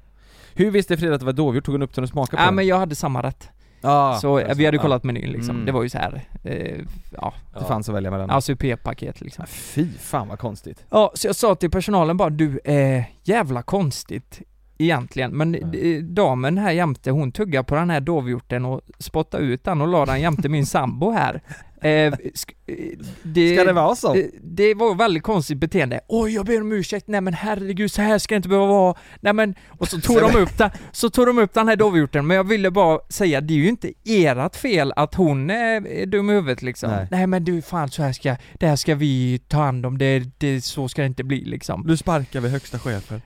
Hur visste Frida att det var dovhjort? Tog hon upp den och smakade på
Ja
den?
men jag hade samma rätt.
Ja,
så eh, vi hade
ja.
kollat menyn liksom.
Mm.
Det var ju så här, eh, ja,
Det fanns att välja mellan
alltså paket liksom.
Ja, Fy fan vad konstigt
Ja, så jag sa till personalen bara du, eh, jävla konstigt egentligen. Men
Mm.
eh, damen här jämte, hon tuggar på den här dovhjorten och spottar ut den och la den jämte min sambo här. Eh, sk- eh, det,
Ska det vara så?
Det, Eh, det var väldigt konstigt beteende. Oj, jag ber om ursäkt. Nej men herregud, så här ska det inte behöva vara. Nej men, och så tog de upp den, så tog de upp den här dovhjorten. Men jag ville bara säga, det är ju inte ert fel att hon är är dum i huvudet liksom. Nej,
Nej.
men du fan, så här ska, det här ska vi ta hand om. Det, det, så ska det inte bli liksom.
Nu sparkar vi högsta chefen.
Så här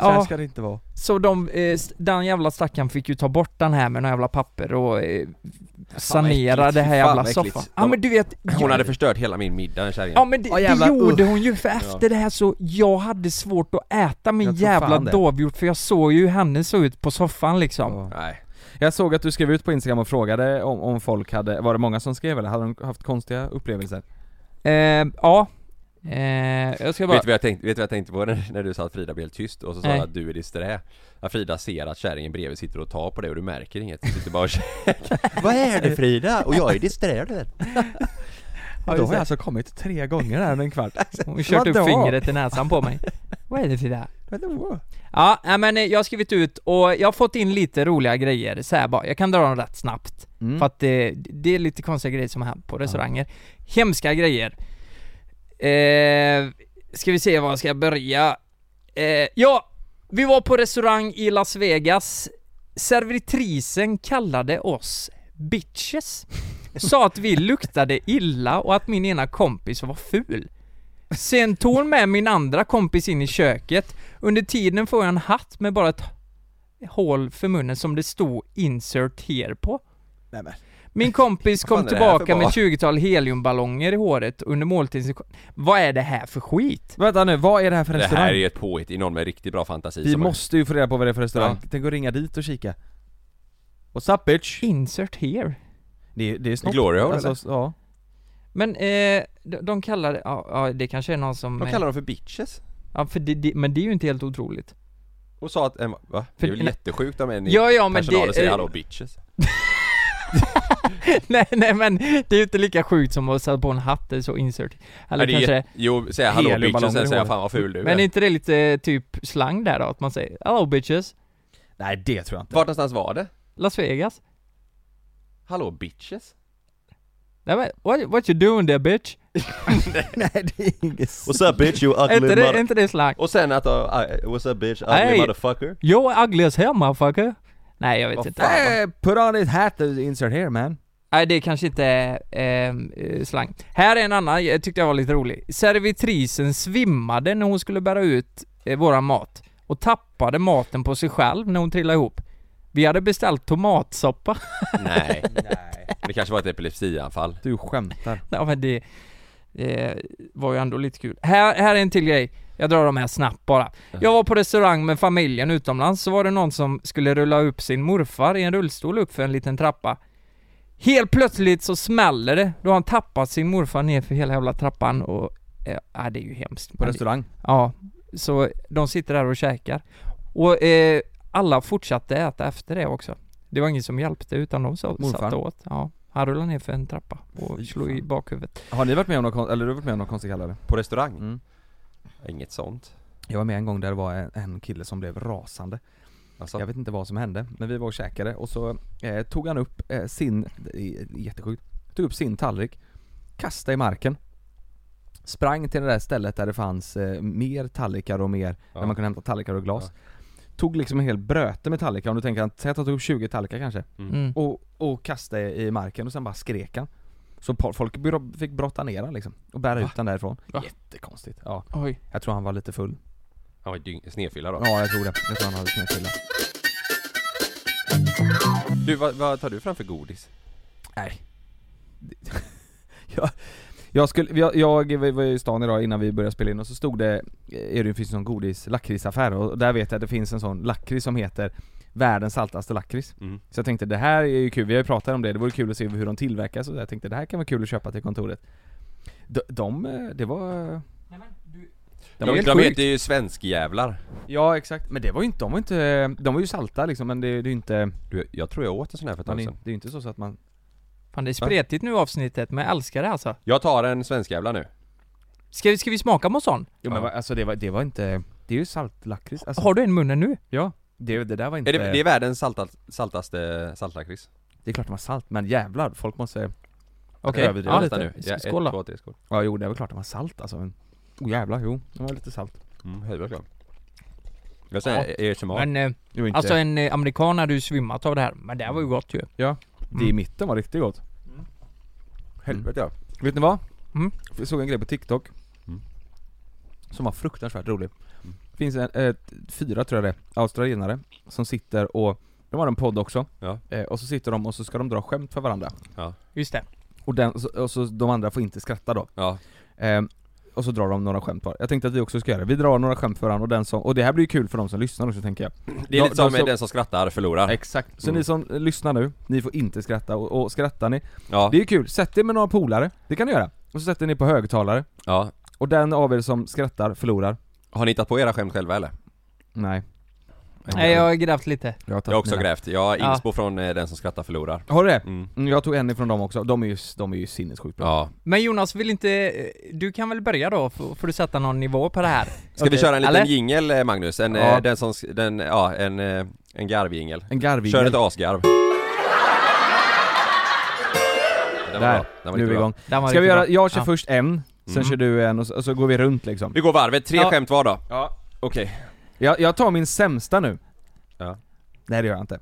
Ja.
ska det inte vara.
Så de, eh, s- den jävla stackaren fick ju ta bort den här med några jävla papper och eh, sanera
äckligt.
det här
Fan,
jävla
vad äckligt.
soffan. Ja men du vet,
Hon hade förstört hela min middag den kärringen
Ja men det,
Ja, jävlar,
det gjorde
usch.
hon ju för efter det här så, jag hade svårt att äta min
Jag tror fan
jävla
det.
dovhjort för jag såg ju hur henne såg ut på soffan liksom.
Ja.
Nej,
Jag såg att du skrev ut på instagram och frågade om, om folk hade, var det många som skrev eller hade de haft konstiga upplevelser?
Eh, ja. Eh, jag ska bara...
vet du vad jag tänkte, vet du vad jag tänkte på när, när du sa att Frida blev helt tyst och så sa
Nej.
hon att du är disträ? Att Frida ser att kärringen bredvid sitter och tar på dig och du märker inget, du sitter bara och Vad är det Frida? Och jag är disträ du vet
Ja,
Då
just
har jag
det.
alltså kommit tre gånger här med en kvart.
Hon kört upp
Vadå?
fingret i näsan på mig. vad är det för det här?
Vadå?
Ja, nej, men eh, jag har skrivit ut och jag har fått in lite roliga grejer så här bara. Jag kan dra dem rätt snabbt.
Mm.
För att det, det är lite konstiga grejer som har hänt på restauranger. Hemska grejer. Eh, ska vi se var jag ska börja. Eh, ja, vi var på restaurang i Las Vegas. Servitrisen kallade oss bitches. Sa att vi luktade illa och att min ena kompis var ful. Sen tog hon med min andra kompis in i köket. Under tiden får jag en hatt med bara ett hål för munnen som det stod 'insert here' på.
Nej, men.
Min kompis
fan
kom
är det här för
tillbaka med
mat?
20-tal heliumballonger i håret under måltiden. så- Vad är det här för skit?
Vänta nu, vad är det här för
Det
restaurang?
här är ett påhitt i någon med riktigt bra fantasi
Vi
som-
måste ju få reda på vad det är för restaurang,
Ja.
tänk att ringa dit och kika What's up bitch?
Insert here.
Det är, det är snott
Glory hole,
alltså, ja.
Men eh, de, de kallar det, ja, ja det kanske är någon som...
De kallar dem för bitches
ja, för det, det, men det är ju inte helt otroligt.
Och sa att, en- va? Det är väl
För-
jättesjukt om en i
Ja, ja, men
personalen
det-
säger
eh,
hallå bitches
nej, nej men det är ju inte lika sjukt som att sätta på en hatt eller så, insert. Eller
Nej, det är
kanske...
jätte- Jo, säga hallå
heliumballonger
bitches, sen
i
säger jag
håret.
fan vad ful du är
Men är inte det lite eh, typ slang där då? Att man säger 'Hello bitches'
Nej det tror jag inte
Vart någonstans var det?
Las Vegas?
Hallå bitches?
Nej men, what, what you doing there bitch?
Nej det är inget
What's up bitch you
Är inte, det, är inte det slang?
Och sen att, uh, I- what's up bitch, ugly
Hey.
motherfucker?
You're ugly as hell motherfucker Nej jag vet
Vad
inte
hey, Put on this hat and insert here man
Nej det kanske inte är ehm, eh, slang Här är en annan, jag tyckte jag var lite rolig Servitrisen svimmade när hon skulle bära ut eh, våran mat Och tappade maten på sig själv när hon trillade ihop Vi hade beställt tomatsoppa
Nej. Det kanske var ett epilepsianfall.
Du skämtar
Ja men det eh, var ju ändå lite kul. Här, här är en till grej. Jag drar de här snabbt bara. Jag var på restaurang med familjen utomlands, så var det någon som skulle rulla upp sin morfar i en rullstol upp för en liten trappa. Helt plötsligt så smäller det, då har han tappat sin morfar ner för hela jävla trappan och... eh, Ja, det är ju hemskt.
På
Men det-
restaurang
Ja, så de sitter där och käkar. Och eh, alla fortsatte äta efter det också. Det var ingen som hjälpte utan de så,
Morfar.
satt åt. Ja, han rullade ner för en trappa
Fy
och slog i
fan.
bakhuvudet.
Har ni varit med om något, kon- eller du har varit med om något konstigt kallare?
På restaurang?
Mm.
Inget sånt.
Jag var med en gång där det var en, en kille som blev rasande
Alltså,
Jag vet inte vad som hände, men vi var och käkade och så eh, tog han upp eh, sin, det är jättesjukt, tog upp sin tallrik, kastade i marken, sprang till det där stället där det fanns eh, mer tallrikar och mer,
Ja.
där man kunde hämta tallrikar och glas. Tog liksom en hel bröte med tallrikar, om du tänker att, säg att han tog upp 20 tallrikar kanske,
Mm.
och, och kastade i marken och sen bara skrek han. Så po- folk bro- fick brotta ner han liksom, och bära ut han därifrån.
Va?
Jättekonstigt. Ja,
Oj.
jag tror han var lite full.
han var ju dyng- snedfylla då.
Ja, jag tror det. Jag tror han hade snedfylla.
Du, vad, vad tar du fram för godis?
Nej. jag, jag, skulle, jag, jag var- var i stan idag innan vi började spela in och så stod det, eh, är det finns en sån godis lakritsaffär och där vet jag att det finns en sån lakrits som heter Världens saltaste lakrits.
Mm.
Så jag tänkte det här är ju kul, vi har ju pratat om det, det vore kul att se hur de tillverkas och så jag tänkte det här kan vara kul att köpa till kontoret. De, de eh, det var... Det
De,
var
de,
helt sjukt.
heter ju svenskjävlar.
Ja exakt, men det var ju inte, de var ju inte, de var ju salta liksom men det, det är ju inte,
Du, jag tror jag åt en sån här för ett
man
tag
är,
sedan.
det är ju inte så, så att man...
Fan det är spretigt nu avsnittet, men jag älskar det alltså.
Jag tar en svenskjävla nu.
Ska, vi- ska vi smaka på en sån?
Jo men vad- alltså det var, det var inte, det är ju saltlakrits alltså.
Har du en i munnen nu?
Ja, det, det där var inte...
Är det, det är världens salta, saltaste saltlakrits.
Det är klart de har salt, men jävlar, folk måste...
Okej.
Överdriv
Ja,
Detta
lite.
nu. Ja, ett,
Skål då.
två, tre, skål.
Ja jo, det är väl klart de har salt alltså, men... Oh, jävlar, jo, de har lite salt.
Mm, helvete klart. Jag säger ja. ASMR.
Men, eh,
Jo, inte...
alltså en eh, amerikan hade ju svimmat av det här, men det här var ju gott ju.
ja, det i mitten var riktigt gott.
Helvete ja.
Vet ni vad?
Mm.
Mm.
Jag såg en grej på TikTok. Som var fruktansvärt rolig. finns en, eh, fyra tror jag det är, australienare, som sitter och, de har en podd också,
Ja.
eh, och så sitter de och så ska de dra skämt för varandra.
Just det.
Och, den, och, så, och så de andra får inte skratta då.
Ja,
Eh, och så drar de några skämt var. Jag tänkte att vi också ska göra det. Vi drar några skämt för varandra och den som, och det här blir ju kul för de som lyssnar också tänker jag.
det är
Då-
lite som
då så-
den som skrattar förlorar
Exakt. Så
Mm.
ni som lyssnar nu, ni får inte skratta och, och skrattar ni,
Ja,
det är ju kul. Sätt er med några polare, det kan ni göra. Och så sätter ni på högtalare,
ja
och den av er som skrattar förlorar.
Har ni hittat på era skämt själva eller?
Nej.
Nej, jag har grävt lite.
Jag har, tagit
Jag har också
mina.
grävt, jag har
Ja.
inspo från eh, den som skrattar förlorar
Har du det?
mm.
Mm, Jag tog en ifrån dem också, de är ju, de är ju sinnessjukt bra.
Ja,
Men Jonas vill inte, eh, du kan väl börja då, får får du sätta någon nivå på det här?
Ska vi köra en liten
Eller?
jingel eh, Magnus? En,
Ja.
eh, den som, sk- den, ja en, eh, en garvjingel
En garvig.
Kör ett asgarv Den var bra.
Där,
Den var
nu
riktigt
är
bra.
vi igång.
Den var
Ska vi
riktigt
göra,
bra.
jag kör
Ja.
först en, sen
Mm.
kör du en och så, och så går vi runt liksom.
Vi går varvet, tre
Ja.
skämt var då
Ja.
Okej
Jag, jag tar min sämsta nu.
Ja.
Nej det gör jag inte.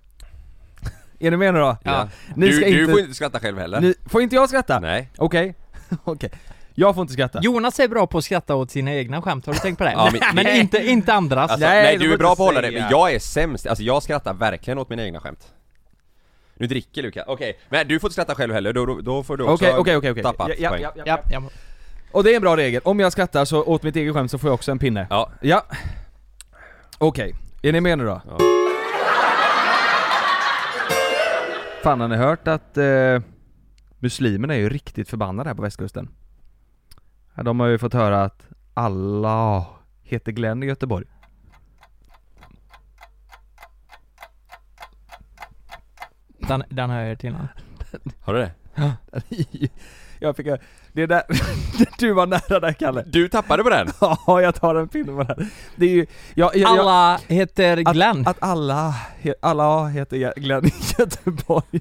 Är ni med nu då?
Ja.
Ni
du,
ska
du
inte...
får inte skratta själv heller
Ni, får inte jag skratta?
Nej
Okej. Okej. Jag får inte skratta.
Jonas är bra på att skratta åt sina egna skämt, har du tänkt på det?
Ja,
men,
men-
inte, inte andras.
Alltså,
Nej,
nej,
det
du
får
är bra
du
på att hålla det,
säga.
men jag är sämst, alltså jag skrattar verkligen åt mina egna skämt Nu dricker Lukas, okej, men du får inte skratta själv heller, då, då, då får du också
Okej, okej, okej, okej.
tappat
Ja, ja,
poäng
ja, ja,
ja,
ja.
ja.
Och det är en bra regel, om jag skrattar så åt mitt eget skämt så får jag också en pinne.
Ja,
Ja. Okej, är ni med nu då?
Ja.
Fan har ni hört att eh, muslimerna är ju riktigt förbannade här på västkusten? Ja, de har ju fått höra att Allah heter Glenn i Göteborg.
Den, den har jag hört innan.
har du det?
jag fick höra- det är där, du var nära där Kalle.
Du tappade på den!
Ja, jag tar en pinne på den. Det är ju, jag, jag, jag,
Alla heter Glenn.
Att alla, he- alla heter Ge- Glenn i Göteborg.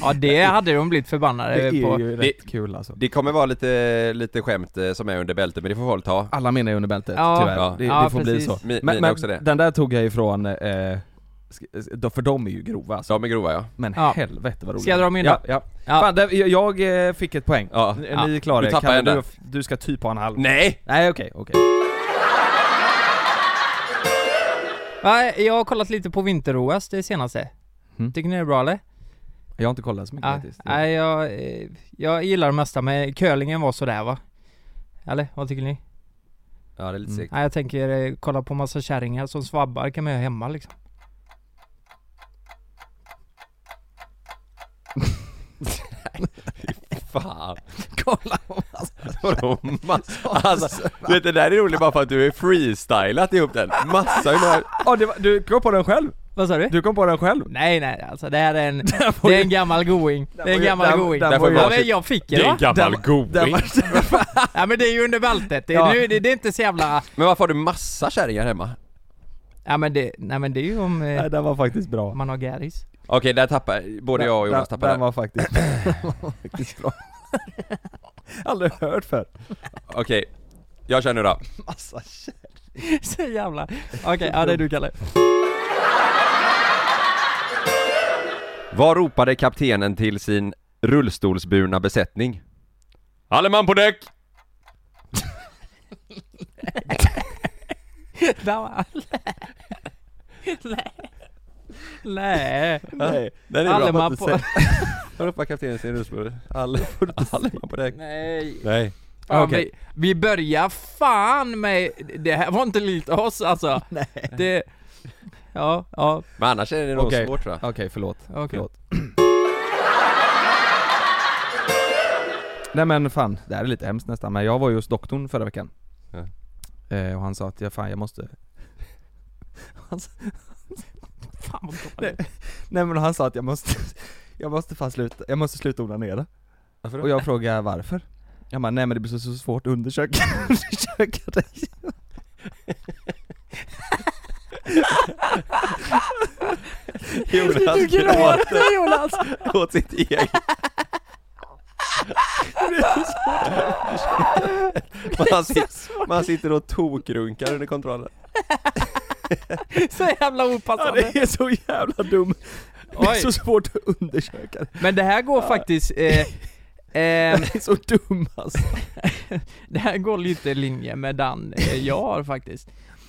ja, det hade de blivit förbannade
Det är
på.
ju
Det-
rätt kul alltså.
Det kommer vara lite, lite skämt eh, som är under bältet, men det får folk ta
Alla menar ju under bältet
Ja.
tyvärr,
Ja.
Det,
Ja,
det får bli
precis.
så.
Mi-
Men,
mina
men
också det.
den där tog jag ifrån, eh, sk- då- för de är ju grova alltså.
De är grova ja
Men
Ja.
helvete vad roligt.
Ska jag dra min då?
ja, ja.
Ja.
Fan, där, jag, jag eh, fick ett poäng.
Ja.
Ni,
Ja.
ni klarar
Du
det.
tappar
Kalle,
en där.
du, du ska typ ha en halv.
Nej!
Nej okej, okej.
Ja, jag har kollat lite på vinter-OS, det senaste.
Mm.
Tycker ni det är bra eller?
Jag har inte kollat så mycket
Ja,
faktiskt.
nej, jag, eh, jag gillar det mesta men curlingen var sådär va? Eller vad tycker ni?
Ja det är lite
Mm.
segt
Nej, jag tänker eh, kolla på massa kärringar som svabbar kan man göra hemma liksom.
Fan,
Kolla!
vadå massa? Alltså, du vet det där är roligt bara för att du är freestylat ihop den, massa hur många...
Ja, det var, du kom på den själv!
Vad sa du?
Du kom på den själv!
Nej nej alltså det här är en, det är en gammal going. Det är en
var ju-
gammal
där-
going.
där
Ja
var ju-
men jag fick det va?
gammal
Den
going!
var,
Ja men det är ju under bältet. Det,
Ja.
är nu, det, det är inte så jävla...
Men varför har du massa kärringar hemma?
Ja men det, nej men det är ju om eh,
nej, den var faktiskt bra.
man har gäris.
Okej, där tappar, både jag och Jonas
den,
tappade
den var faktiskt, den var faktiskt bra. Aldrig hört för.
Okej, jag kör nu då.
Massa shit.
så jävla... Okej, ja det är du Kalle.
Vad ropade kaptenen till sin rullstolsburna besättning? Alle man på däck!
Där var Nej. Nej.
Nej,
Den
Alle man på...
Vad ropade kaptenen till sin rullstolsburna? Alle, Alle man på däck?
Nej.
Nej.
Fan,
Okej.
vi, vi börjar fan med... Det här var inte likt oss alltså. Nej. Det... Ja, ja,
Men annars är det nog
Okej.
svårt tror jag.
Okej, förlåt.
okej.
Förlåt. Nej men fan, det här är lite hemskt nästan men jag var ju hos doktorn förra veckan.
Ja.
Eh, och han sa att jag fan jag måste... Han sa,
Fan vad bra.
nej men han sa att jag måste, jag måste fan sluta, jag måste sluta onanera.
Varför
Och jag frågade varför. Jag bara, nej men det blir så, så svårt att undersöka, undersöka dig.
Jonas
Du gråter Jonas!
åt sitt eget. man, sitter, man sitter och tokrunkar under kontrollen.
Så jävla opassande.
är så jävla dumt. Det är
Oj.
så svårt att undersöka det.
Men det här går faktiskt... Eh, Ehm,
Det är så dum alltså.
det här går lite i linje med den eh, jag har faktiskt.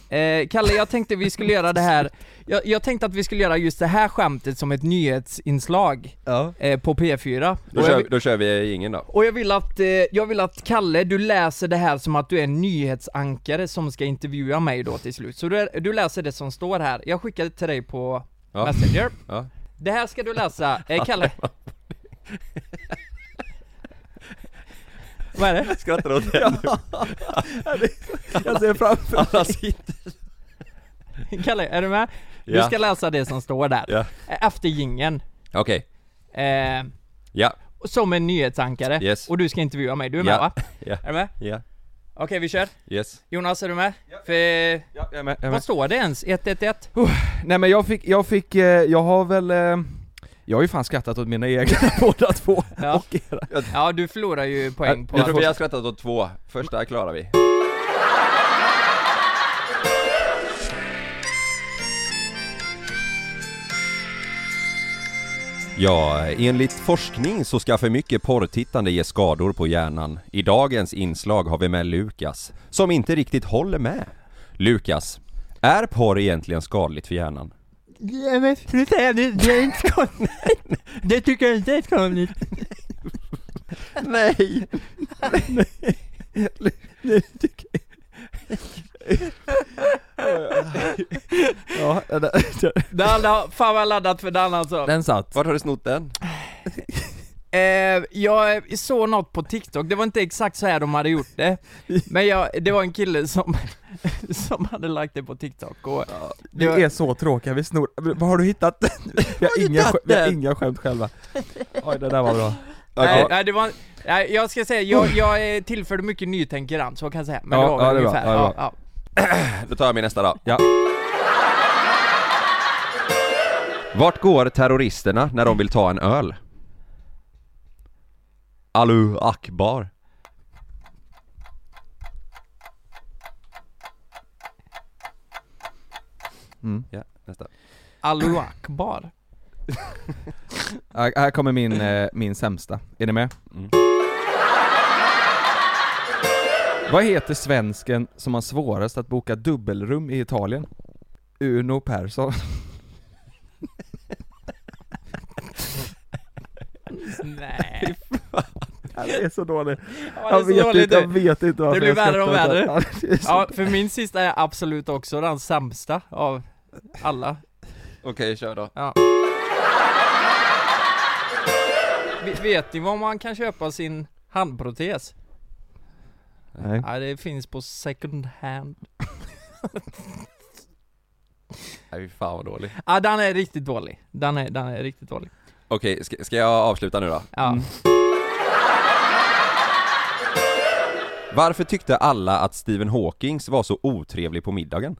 Eh, Kalle, jag tänkte vi skulle göra det här, jag, jag tänkte att vi skulle göra just det här skämtet som ett nyhetsinslag
Ja.
eh, på P4.
Då,
Och jag
kör,
vill-
då kör vi ingen då.
Och jag vill att, eh, jag vill att Kalle, du läser det här som att du är en nyhetsankare som ska intervjua mig då till slut. Så du, du läser det som står här. Jag skickade till dig på
Ja.
Messenger.
Ja.
Det här ska du läsa, eh, Kalle. Vad är det?
Skrattar åt det nu?
Jag ser framför
Han sitter...
Kalle, är du med? Du
Ja.
ska läsa det som står där.
Ja.
Eh, Efter jingeln.
Okej.
Eh,
Ja.
som en nyhetsankare.
Yes.
Och du ska intervjua mig, du är med
Ja.
va?
Ja.
Är du med?
Ja.
Okej, vi kör.
Yes.
Jonas, är du med? För,
ja, jag är med, jag är med.
vad står det ens? 111?
Nej men jag fick, jag fick, eh, jag har väl eh, jag har ju fan skrattat åt mina egna båda två
Ja.
och era.
Ja, du förlorar ju poäng på...
Jag tror vi har skrattat åt två. Första klarar vi. Ja, enligt forskning så ska för mycket porrtittande ge skador på hjärnan. I dagens inslag har vi med Lukas, som inte riktigt håller med. Lukas, är porr egentligen skadligt för hjärnan?
Ja, men sluta här nu, det är inte skadligt. Det tycker jag inte är skadligt.
Nej!
Ja, den,
Den har fan vad laddat för den alltså.
den satt.
Vart har du snott den?
Eh, jag såg något på TikTok, det var inte exakt så här de hade gjort det. Men jag, det var en kille som, som hade lagt det på TikTok och...
Vi
Det var,
är så tråkiga, vi snor, vad har du hittat den? Vi har, inga, skä- vi har
den?
inga skämt själva. Oj det där var bra.
nej,
Okej.
nej, det var, nej, jag ska säga, jag, jag eh, tillförde mycket nytänkerant, så kan jag säga. Men
Ja,
det var väl
ja, det är bra,
ungefär,
ja, det är
ja,
bra.
ja.
Då tar jag min nästa då.
Ja.
Vart går terroristerna när de vill ta en öl? Alu Akbar.
Mm.
Ja, nästa.
Allahu Akbar.
Här här kommer min, eh, min sämsta, är ni med?
Mm.
Vad heter svensken som har svårast att boka dubbelrum i Italien? Uno Persson.
Nej.
Det är så dåligt.
Ja,
Jag
det är så
vet
dåligt
inte,
nu.
jag vet inte varför
Det blir
jag
värre och
skrattar.
värre.
Ja, det är så-
Ja, för min sista är absolut också den sämsta av alla.
Okej, kör då.
Ja. V- vet ni var man kan köpa sin handprotes?
Nej.
Ja, det finns på second hand.
Nej, fy fan vad dålig.
Ja, den är riktigt dålig. Den är, den är riktigt dålig.
Okej, ska, ska jag avsluta nu då?
Ja.
Varför tyckte alla att Stephen Hawkings var så otrevlig på middagen?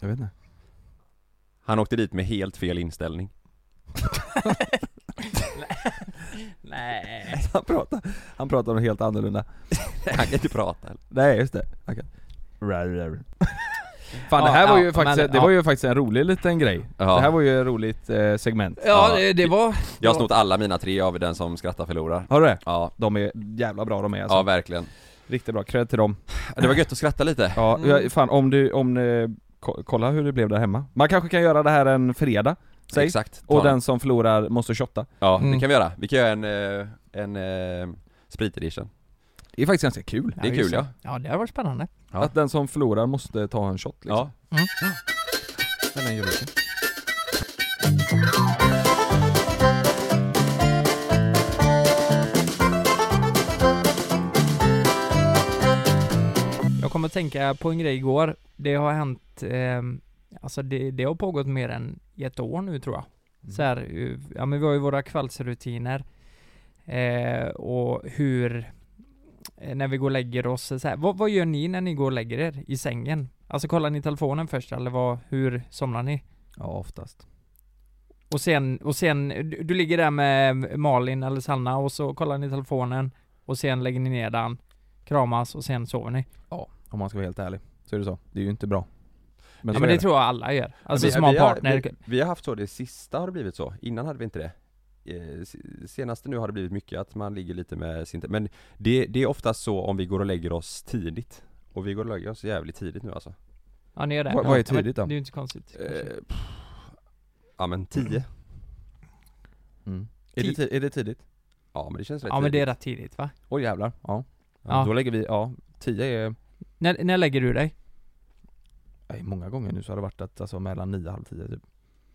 Jag vet inte.
Han åkte dit med helt fel inställning.
Nej.
Han pratar, han pratar om helt annorlunda.
Han kan inte prata. eller?
Nej just det, okej. Fan det
Ja,
här var
ja,
ju faktiskt,
men-
det
ja.
var ju faktiskt en rolig liten grej.
Ja.
Det här var ju ett roligt eh, segment.
Ja,
Ja.
det, det var...
Jag har snott alla mina tre av den som skrattar förlorar.
Har du det?
Ja,
De är jävla bra de är alltså.
ja verkligen.
Riktigt bra, cred till dem.
Det var gött att skratta lite.
Ja,
Mm.
jag- fan om du, om eh, ko- kolla hur det blev där hemma. Man kanske kan göra det här en fredag, säg.
Exakt. Ta
Och den som förlorar måste shotta.
Ja, det
Mm.
kan vi göra. Vi kan göra en, eh, en eh, sprit edition.
Det är faktiskt ganska kul.
Det är kul ja.
Ja, det har varit spännande.
Ja.
Att den som förlorar måste ta en shot liksom.
ja.
Den är ju rolig.
Jag kommer att tänka på en grej igår. Det har hänt, ehm, alltså det, det har pågått mer än ett år nu tror jag. Så här, eh, ja men vi har ju våra kvällsrutiner. Eh, och hur, eh, när vi går och lägger oss, så här, vad, vad gör ni när ni går och lägger er i sängen? Alltså kollar ni telefonen först eller vad, hur somnar ni?
Ja, oftast.
Och sen, och sen, du, du ligger där med Malin eller Sanna och så kollar ni telefonen och sen lägger ni ner den, kramas och sen sover ni.
Om man ska vara helt ärlig. Så är det så. Det är ju inte bra. Men
ja
så
men
är
det tror jag alla gör. Alltså
Vi-
som har
vi har-
partner.
Vi, vi har haft så, det sista har det blivit så. Innan hade vi inte det. eh, se- senaste nu har det blivit mycket att man ligger lite med sin, te- men det, det är oftast så om vi går och lägger oss tidigt. Och vi går och lägger oss jävligt tidigt nu alltså.
Ja ni är där.
Vad- vad är
Ja, men
tidigt då?
Det är ju inte konstigt.
Eh, pff, ja men 10.
Mm. Är, det ti- är det tidigt?
Ja men det känns rätt
Ja men det
tidigt.
är rätt tidigt va?
Åh jävlar, ja.
Ja.
Då lägger vi, ja, 10 är,
När, när lägger du dig?
nej, många gånger nu så har det varit att, alltså mellan 9 och halv 10 typ.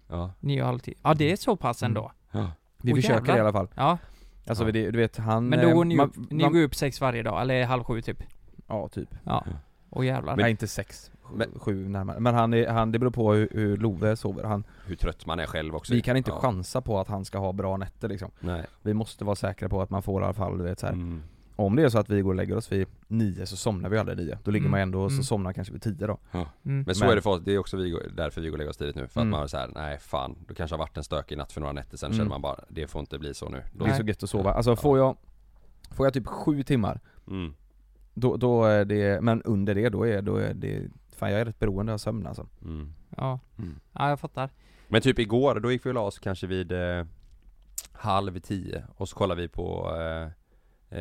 Ja.
Nio och halv tio? Ja det är så pass
Mm.
ändå.
Vi
Åh,
försöker
jävlar.
i alla fall.
Ja,
Alltså
Ja.
det, du vet han...
men då
eh,
går ni
man-
upp, ni
man-
går upp sex varje dag, eller halv sju typ?
Ja, typ.
Ja. Och jävlar.
Nej inte sex, sju,
Men-
sju närmare. Men han, är, han, det beror på hur, hur Love sover. Han,
Hur trött man är själv också.
vi kan inte
ja.
chansa på att han ska ha bra nätter liksom.
Nej.
Vi måste vara säkra på att man får i alla fall, du vet så här.
Mm.
Om det är så att vi går och lägger oss vid nio så somnar vi aldrig nio. Då ligger
Mm.
man ändå och så
Mm.
somnar kanske vid tio då.
Mm.
Men så
Men-
är det för oss, det är också vi, går- därför vi går och lägger oss tidigt nu. För att
Mm.
man är så här, nej fan, då kanske har varit en stökig natt för några nätter sen
Mm.
känner man bara, det får inte bli så nu. Då,
Det är
Nej.
så gött att sova. Alltså får jag, får jag typ sju timmar,
mm.
då, då är det, men under det då är, då är det, fan jag är rätt beroende av sömn alltså.
Mm.
Ja.
Mm.
ja, jag fattar.
Men typ igår, då gick vi och la oss kanske vid eh, halv tio och så kollade vi på eh,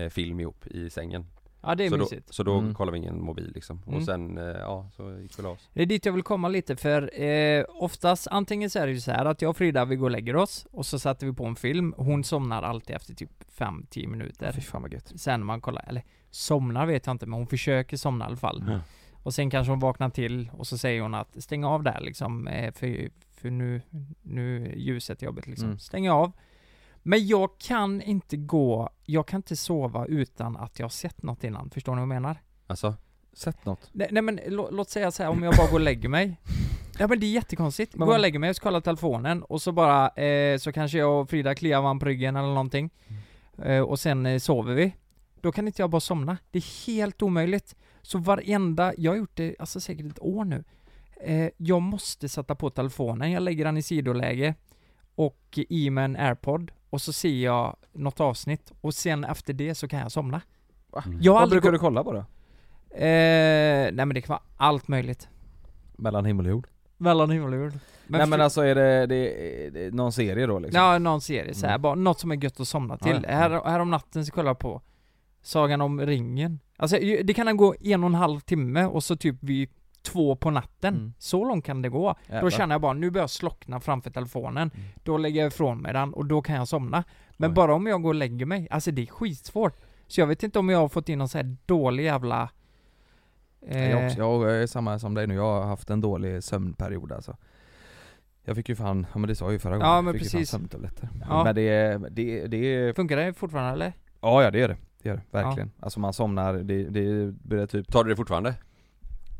eh, film ihop i sängen.
Ja det är
så då,
mysigt.
så då
Mm.
kollade vi ingen mobil liksom.
Mm.
Och sen, eh, ja, så gick vi och la oss.
Det är dit jag vill komma lite för eh, oftast antingen så är det ju så här att jag och Frida vi går och lägger oss och så sätter vi på en film. Hon somnar alltid efter typ 5-10 minuter.
Fy fan vad gött.
Sen man kollar, eller somnar vet jag inte men hon försöker somna i alla fall. Och sen kanske hon vaknar till och så säger hon att stäng av där liksom eh, för, för nu, nu är ljuset jobbigt liksom.
Mm.
Stäng av. Men jag kan inte gå, jag kan inte sova utan att jag har sett något innan. Förstår ni vad jag menar?
Alltså?
Sett något?
Nej, nej men lå, låt säga så här om jag bara går och lägger mig. Ja men det är jättekonstigt. Går jag och lägger mig och ska kolla telefonen och så bara, eh, så kanske jag och Frida kliar varandra på ryggen eller någonting. Eh, och sen eh, sover vi. Då kan inte jag bara somna. Det är helt omöjligt. Så varenda, jag har gjort det alltså säkert ett år nu. Eh, jag måste sätta på telefonen, jag lägger den i sidoläge och i med en airpod och så ser jag något avsnitt och sen efter det så kan jag somna.
Va?
Jag har
Vad
aldrig
brukar du kolla på då?
gå- eh, nej men det kan vara allt möjligt.
Mellan himmel och jord?
Mellan himmel och jord.
Nej men alltså är det, det, det någon serie då liksom?
Ja, någon serie så här,
Mm.
bara något som är gött att somna
Ja,
till.
ja.
Här, här om natten så kollar jag på Sagan om ringen. Alltså ju- det kan gå en och en halv timme och så typ vid två på natten.
Mm.
Så långt kan det gå.
Jävlar.
Då känner jag bara, nu börjar jag slockna framför telefonen.
Mm.
Då lägger jag ifrån mig den och då kan jag somna. Men
Oj.
bara om jag går och lägger mig. Alltså det är skitsvårt. Så jag vet inte om jag har fått in någon så här dålig jävla... Eh,
Jag, också, jag är samma som dig nu, jag har haft en dålig sömnperiod alltså Jag fick ju fan, ja men det sa jag ju förra gången,
Ja,
jag
men
fick ju fan
precis.
sömntabletter
Ja.
Men det, det, det,
Funkar det fortfarande eller?
ja ja det gör det, det gör det verkligen Alltså man somnar, det, det börjar typ,
Tar du det fortfarande?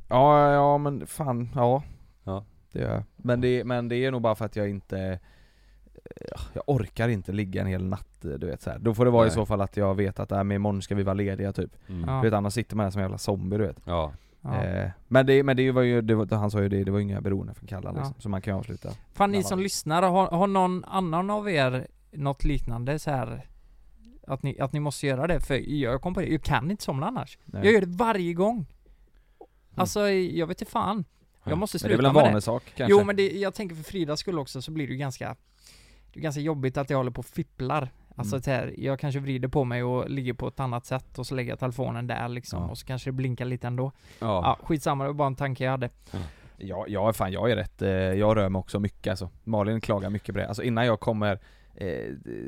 ja ja men fan, ja
Ja.
Det gör jag. Men det, men det är nog bara för att jag inte eh, jag orkar inte ligga en hel natt eh, du vet så här. Då får det vara i
Nej.
så fall att jag vet att äh, men imorgon ska vi vara lediga typ
Ja.
Du vet annars sitter man här som en jävla zombie du vet
Ja.
Ja.
Eh, men det, men det var ju, det var, han sa ju det, det var inga beroende från Kallan
Ja.
liksom, så man kan ju avsluta.
Fan ni
Mellan.
som lyssnar, har, har någon annan av er något liknande så här att ni, att ni måste göra det? För jag kom på det, jag kan inte somna annars.
Nej. Mm.
Jag gör det varje gång. Alltså jag vet inte fan. Jag måste
men det är väl
sluta
en
med det.
vanesak kanske?
Jo men det, jag tänker för Fridas skull också så blir det ju ganska Det är ganska jobbigt att jag håller på och fipplar. Alltså
Mm.
så här, jag kanske vrider på mig och ligger på ett annat sätt och så lägger jag telefonen där liksom
Ja.
och så kanske det blinkar lite ändå.
Ja.
Ja, skitsamma, det var bara en tanke jag hade.
Ja, ja, fan jag är rätt, eh, jag rör mig också mycket alltså. Malin klagar mycket på det. Alltså innan jag kommer eh,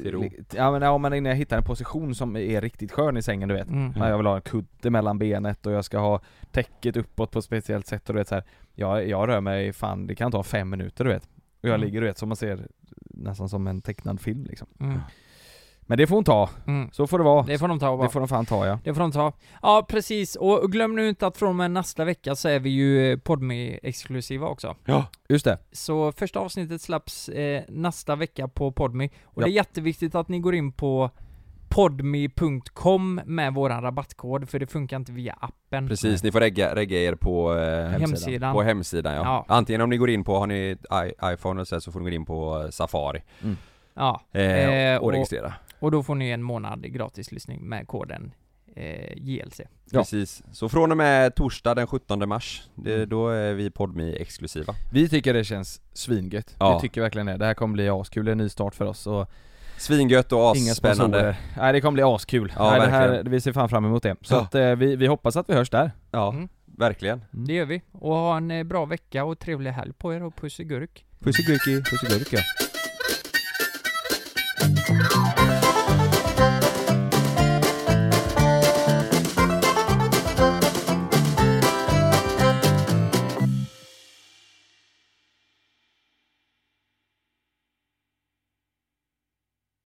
ro.
li- ja, men, ja men innan jag hittar en position som är riktigt skön i sängen du vet.
Mm.
Ja, Jag vill ha en kudde mellan benet och jag ska ha täcket uppåt på ett speciellt sätt och du vet så här. Jag, jag rör mig fan, det kan ta fem minuter du vet. Och jag
Mm.
ligger du vet som man ser nästan som en tecknad film liksom.
Mm.
Men det får hon ta,
Mm.
så får det vara.
Det får de ta och bara
Det får de fan ta ja.
Det får de ta. Ja, precis. Och glöm nu inte att från och med nästa vecka så är vi ju podmi exklusiva också.
Just det.
Så första avsnittet släpps eh, nästa vecka på Podmi. Och
Ja.
det är jätteviktigt att ni går in på podmi.com med våran rabattkod, för det funkar inte via appen.
Precis, ni får regga, regga er på eh,
Hemsidan.
På hemsidan ja.
Ja.
Antingen om ni går in på, har ni ett i- iPhone eller så, här, så får ni gå in på eh, Safari
Ja.
eh,
Eh,
och,
och-
registrera.
Och då får ni en månad gratis lyssning med koden eh, JLC.
ja.
Precis. Så från och med torsdag den 17 mars, det, då är vi Podmi exklusiva.
Vi tycker det känns svingött.
Ja.
Vi tycker verkligen det. Det här kommer bli askul, en ny start för oss och
Svingött och
Inga
asspännande.
sponsorer. Nej det kommer bli askul.
Ja,
Nej, det här,
verkligen.
vi ser fan fram emot det. Så
Ja.
att, eh, vi, vi hoppas att vi hörs där.
Ja,
Mm.
verkligen.
Det gör vi. Och ha en eh, bra vecka och trevlig helg på er och puss i gurk.
Puss i gurki, puss i gurki.
Thank you.